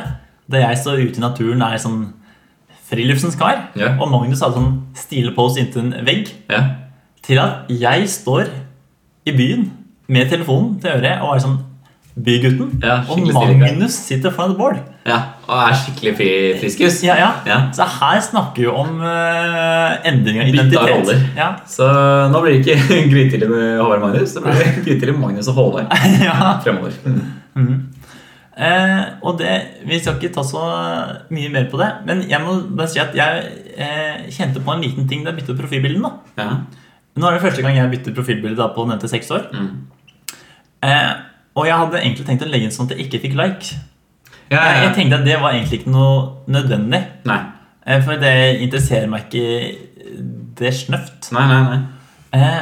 Speaker 2: der jeg står ute i naturen og er sånn friluftens kar,
Speaker 1: Ja.
Speaker 2: og Magnus hadde sånn stille pose inntil en vegg,
Speaker 1: eh, ja.
Speaker 2: til at jeg står i byen med telefonen til øret og er sånn Bygutten.
Speaker 1: Ja,
Speaker 2: og
Speaker 1: skikkelig stille kar.
Speaker 2: Magnus sitter foran et bål.
Speaker 1: ja. ja. Og er skikkelig fri- friskus.
Speaker 2: Ja, ja.
Speaker 1: Ja.
Speaker 2: Så her snakker vi om eh, endring av
Speaker 1: Bytte
Speaker 2: identitet.
Speaker 1: av roller.
Speaker 2: Ja.
Speaker 1: Så nå blir det ikke grytidlig med Håvard og Magnus, det blir grytidlig med Magnus og Håvard
Speaker 2: ja.
Speaker 1: fremover.
Speaker 2: Eh, og det, Vi skal ikke ta så mye mer på det, men jeg må bare si at jeg eh, kjente på en liten ting da jeg byttet profilbilden. da.
Speaker 1: Ja.
Speaker 2: Nå er det første gang jeg bytter profilbilde da på nevnte seks år.
Speaker 1: Mm.
Speaker 2: Eh, og jeg hadde egentlig tenkt å legge inn sånn at jeg ikke fikk like.
Speaker 1: Ja,
Speaker 2: Jeg,
Speaker 1: ja,
Speaker 2: jeg tenkte at det var egentlig ikke noe nødvendig,
Speaker 1: Nei.
Speaker 2: eh, for det interesserer meg ikke det snøft.
Speaker 1: Nei, nei, nei.
Speaker 2: Eh,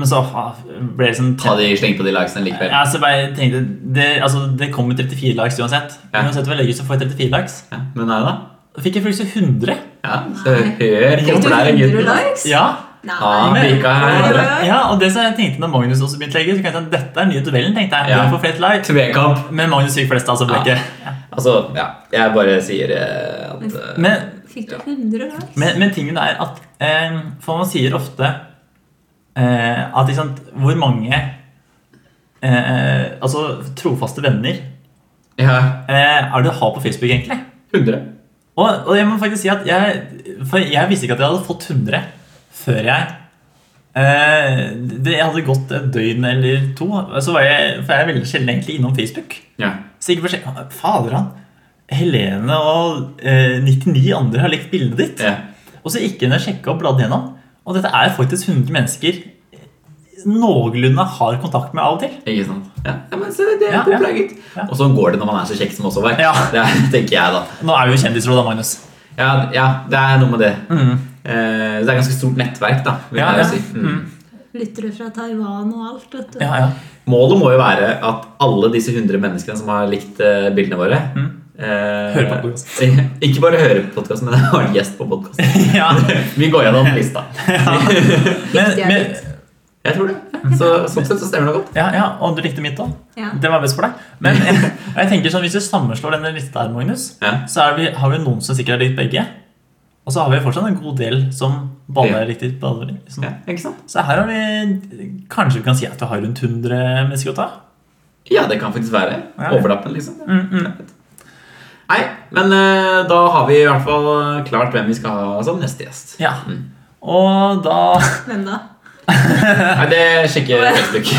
Speaker 2: men så ah, ble det sånn
Speaker 1: Ta de sleng på de likesene likevel.
Speaker 2: Ja, så bare jeg tenkte, det, altså, det kommer 34 likes uansett.
Speaker 1: Ja.
Speaker 2: Uansett hva jeg legger, så får jeg 34 likes.
Speaker 1: Ja. Men nei da.
Speaker 2: Da fikk jeg faktisk 100.
Speaker 1: Ja, så hør på
Speaker 3: Fikk du
Speaker 1: der,
Speaker 3: 100
Speaker 1: gutten.
Speaker 3: likes?
Speaker 2: Ja.
Speaker 3: Nei.
Speaker 1: Ja,
Speaker 2: men-
Speaker 1: Mika er
Speaker 3: Oi, oi,
Speaker 1: hundre.
Speaker 3: oi.
Speaker 2: ja, og det som jeg tenkte når Magnus også begynte å legge, så kan jeg tenke at dette er den nye duellen. tenkte jeg.
Speaker 1: Ja.
Speaker 2: Den får flest likes.
Speaker 1: Tvekamp.
Speaker 2: Men Magnus fikk flest, altså. ble
Speaker 1: Ja.
Speaker 2: ikke.
Speaker 1: Altså, ja. Jeg bare sier eh, at eh,
Speaker 2: Men,
Speaker 3: Fikk du 100 likes?
Speaker 2: men, men tingen er at eh, For man sier ofte eh, at ikke sant, hvor mange eh, Altså trofaste venner
Speaker 1: Ja.
Speaker 2: eh, er det du har på Facebook, egentlig?
Speaker 1: 100.
Speaker 2: Og, og jeg må faktisk si at jeg, for jeg visste ikke at jeg hadde fått 100 før jeg eh, det, Jeg hadde gått et døgn eller to, så var jeg, for jeg er veldig sjelden egentlig innom Facebook.
Speaker 1: Ja.
Speaker 2: Så ikke for, Fader han! Helene og eh, 99 andre har lekt bildet ditt.
Speaker 1: ja.
Speaker 2: Og så gikk jeg inn og sjekka og bladde gjennom. Og dette er faktisk 100 mennesker noenlunde har kontakt med av og til.
Speaker 1: Ikke sant? Ja, ja men så det er
Speaker 2: Ja,
Speaker 1: god
Speaker 2: ja.
Speaker 1: plaget.
Speaker 2: Ja.
Speaker 1: Og sånn går det når man er så kjekk som også var.
Speaker 2: Ja.
Speaker 1: Det er- tenker jeg, da.
Speaker 2: Nå er vi jo kjendisråd, da, Magnus.
Speaker 1: Ja, ja, det er noe med det. Eh, det er ganske stort nettverk, da. Vil
Speaker 2: Mm. Ja,
Speaker 1: jeg
Speaker 2: ja.
Speaker 1: si. Mm.
Speaker 3: Lyttere fra Taiwan og alt, vet du.
Speaker 2: Ja, ja.
Speaker 1: Målet må jo være at alle disse 100 menneskene som har likt eh, bildene våre eh,
Speaker 2: Mm. Hører på podcast.
Speaker 1: Ikke bare hører på podkasten, men har en gjest på podkasten.
Speaker 2: ja.
Speaker 1: Vi går gjennom lista.
Speaker 2: Men,
Speaker 3: Viktig er
Speaker 2: men,
Speaker 3: litt.
Speaker 1: Jeg tror det.
Speaker 2: Mm.
Speaker 1: Så, sånn sett så stemmer det godt.
Speaker 2: ja, ja. Og du likte mitt òg?
Speaker 3: Ja.
Speaker 2: Det var best for deg. Men jeg, jeg tenker sånn, hvis du sammenslår denne lista her, Magnus,
Speaker 1: Ja.
Speaker 2: så er vi, har vi noen som sikkert har likt begge. Og så har vi fortsatt en god del som baller
Speaker 1: Ja.
Speaker 2: riktig. Baller, liksom.
Speaker 1: Ja, ikke sant?
Speaker 2: Så her har vi Kanskje vi kan si at vi har rundt 100 mennesker å ta?
Speaker 1: Ja, det kan faktisk være.
Speaker 2: Ja.
Speaker 1: Overlappende, liksom. Nei, men eh, da har vi i hvert fall klart hvem vi skal ha som neste gjest.
Speaker 2: Ja. Og da,
Speaker 3: Hvem da?
Speaker 1: Nei, det sjekker Facebook.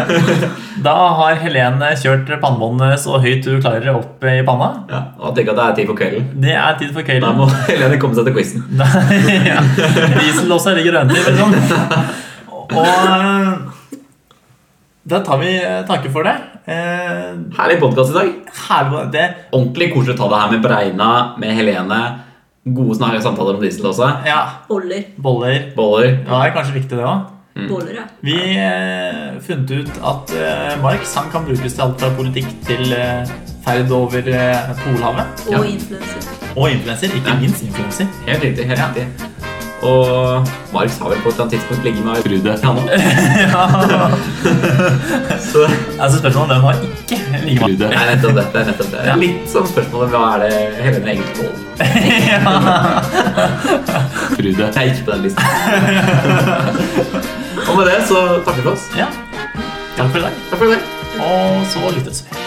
Speaker 2: da har Helene kjørt pannebåndet så høyt du klarer opp i panna.
Speaker 1: Ja, og tenk at det er tid for kvelden.
Speaker 2: Det er tid for
Speaker 1: Da
Speaker 2: kvelden.
Speaker 1: må Helene komme seg til quizen.
Speaker 2: Da- ja. Diesellåsa ligger rundt i, sånn. Og eh, da tar vi eh, takke for det. Eh,
Speaker 1: Herlig podkast i dag.
Speaker 2: Herlig. Det,
Speaker 1: Ordentlig koselig å ta det her med Breina, med Helene. Gode snakke samtaler om diesel også.
Speaker 2: ja,
Speaker 3: Boller.
Speaker 2: boller.
Speaker 1: Boller.
Speaker 2: Ja, det er kanskje viktig, det òg.
Speaker 3: Boller, ja.
Speaker 2: Vi eh, funnet ut at eh, Marx han kan brukes til alt fra politikk til eh, ferd over eh, Polhavet.
Speaker 3: Og
Speaker 1: Ja.
Speaker 3: influenser.
Speaker 2: Og influenser. Ikke
Speaker 1: Ja.
Speaker 2: minst influenser.
Speaker 1: Helt riktig. helt riktig. Og Marx har vel på et eller annet tidspunkt ligget med Rude. Ja, nå. Så
Speaker 2: Altså, spørsmålet om den har ikke like mange.
Speaker 1: Nei, nettopp det. det er nettopp det. Litt som spørsmålet hva er det Helene egentlig tåler. Jeg er ikke på den listen. Og med det så takker vi for oss.
Speaker 2: Ja. Takk for i dag.
Speaker 1: Takk for i dag.
Speaker 2: Og så lyttes vi.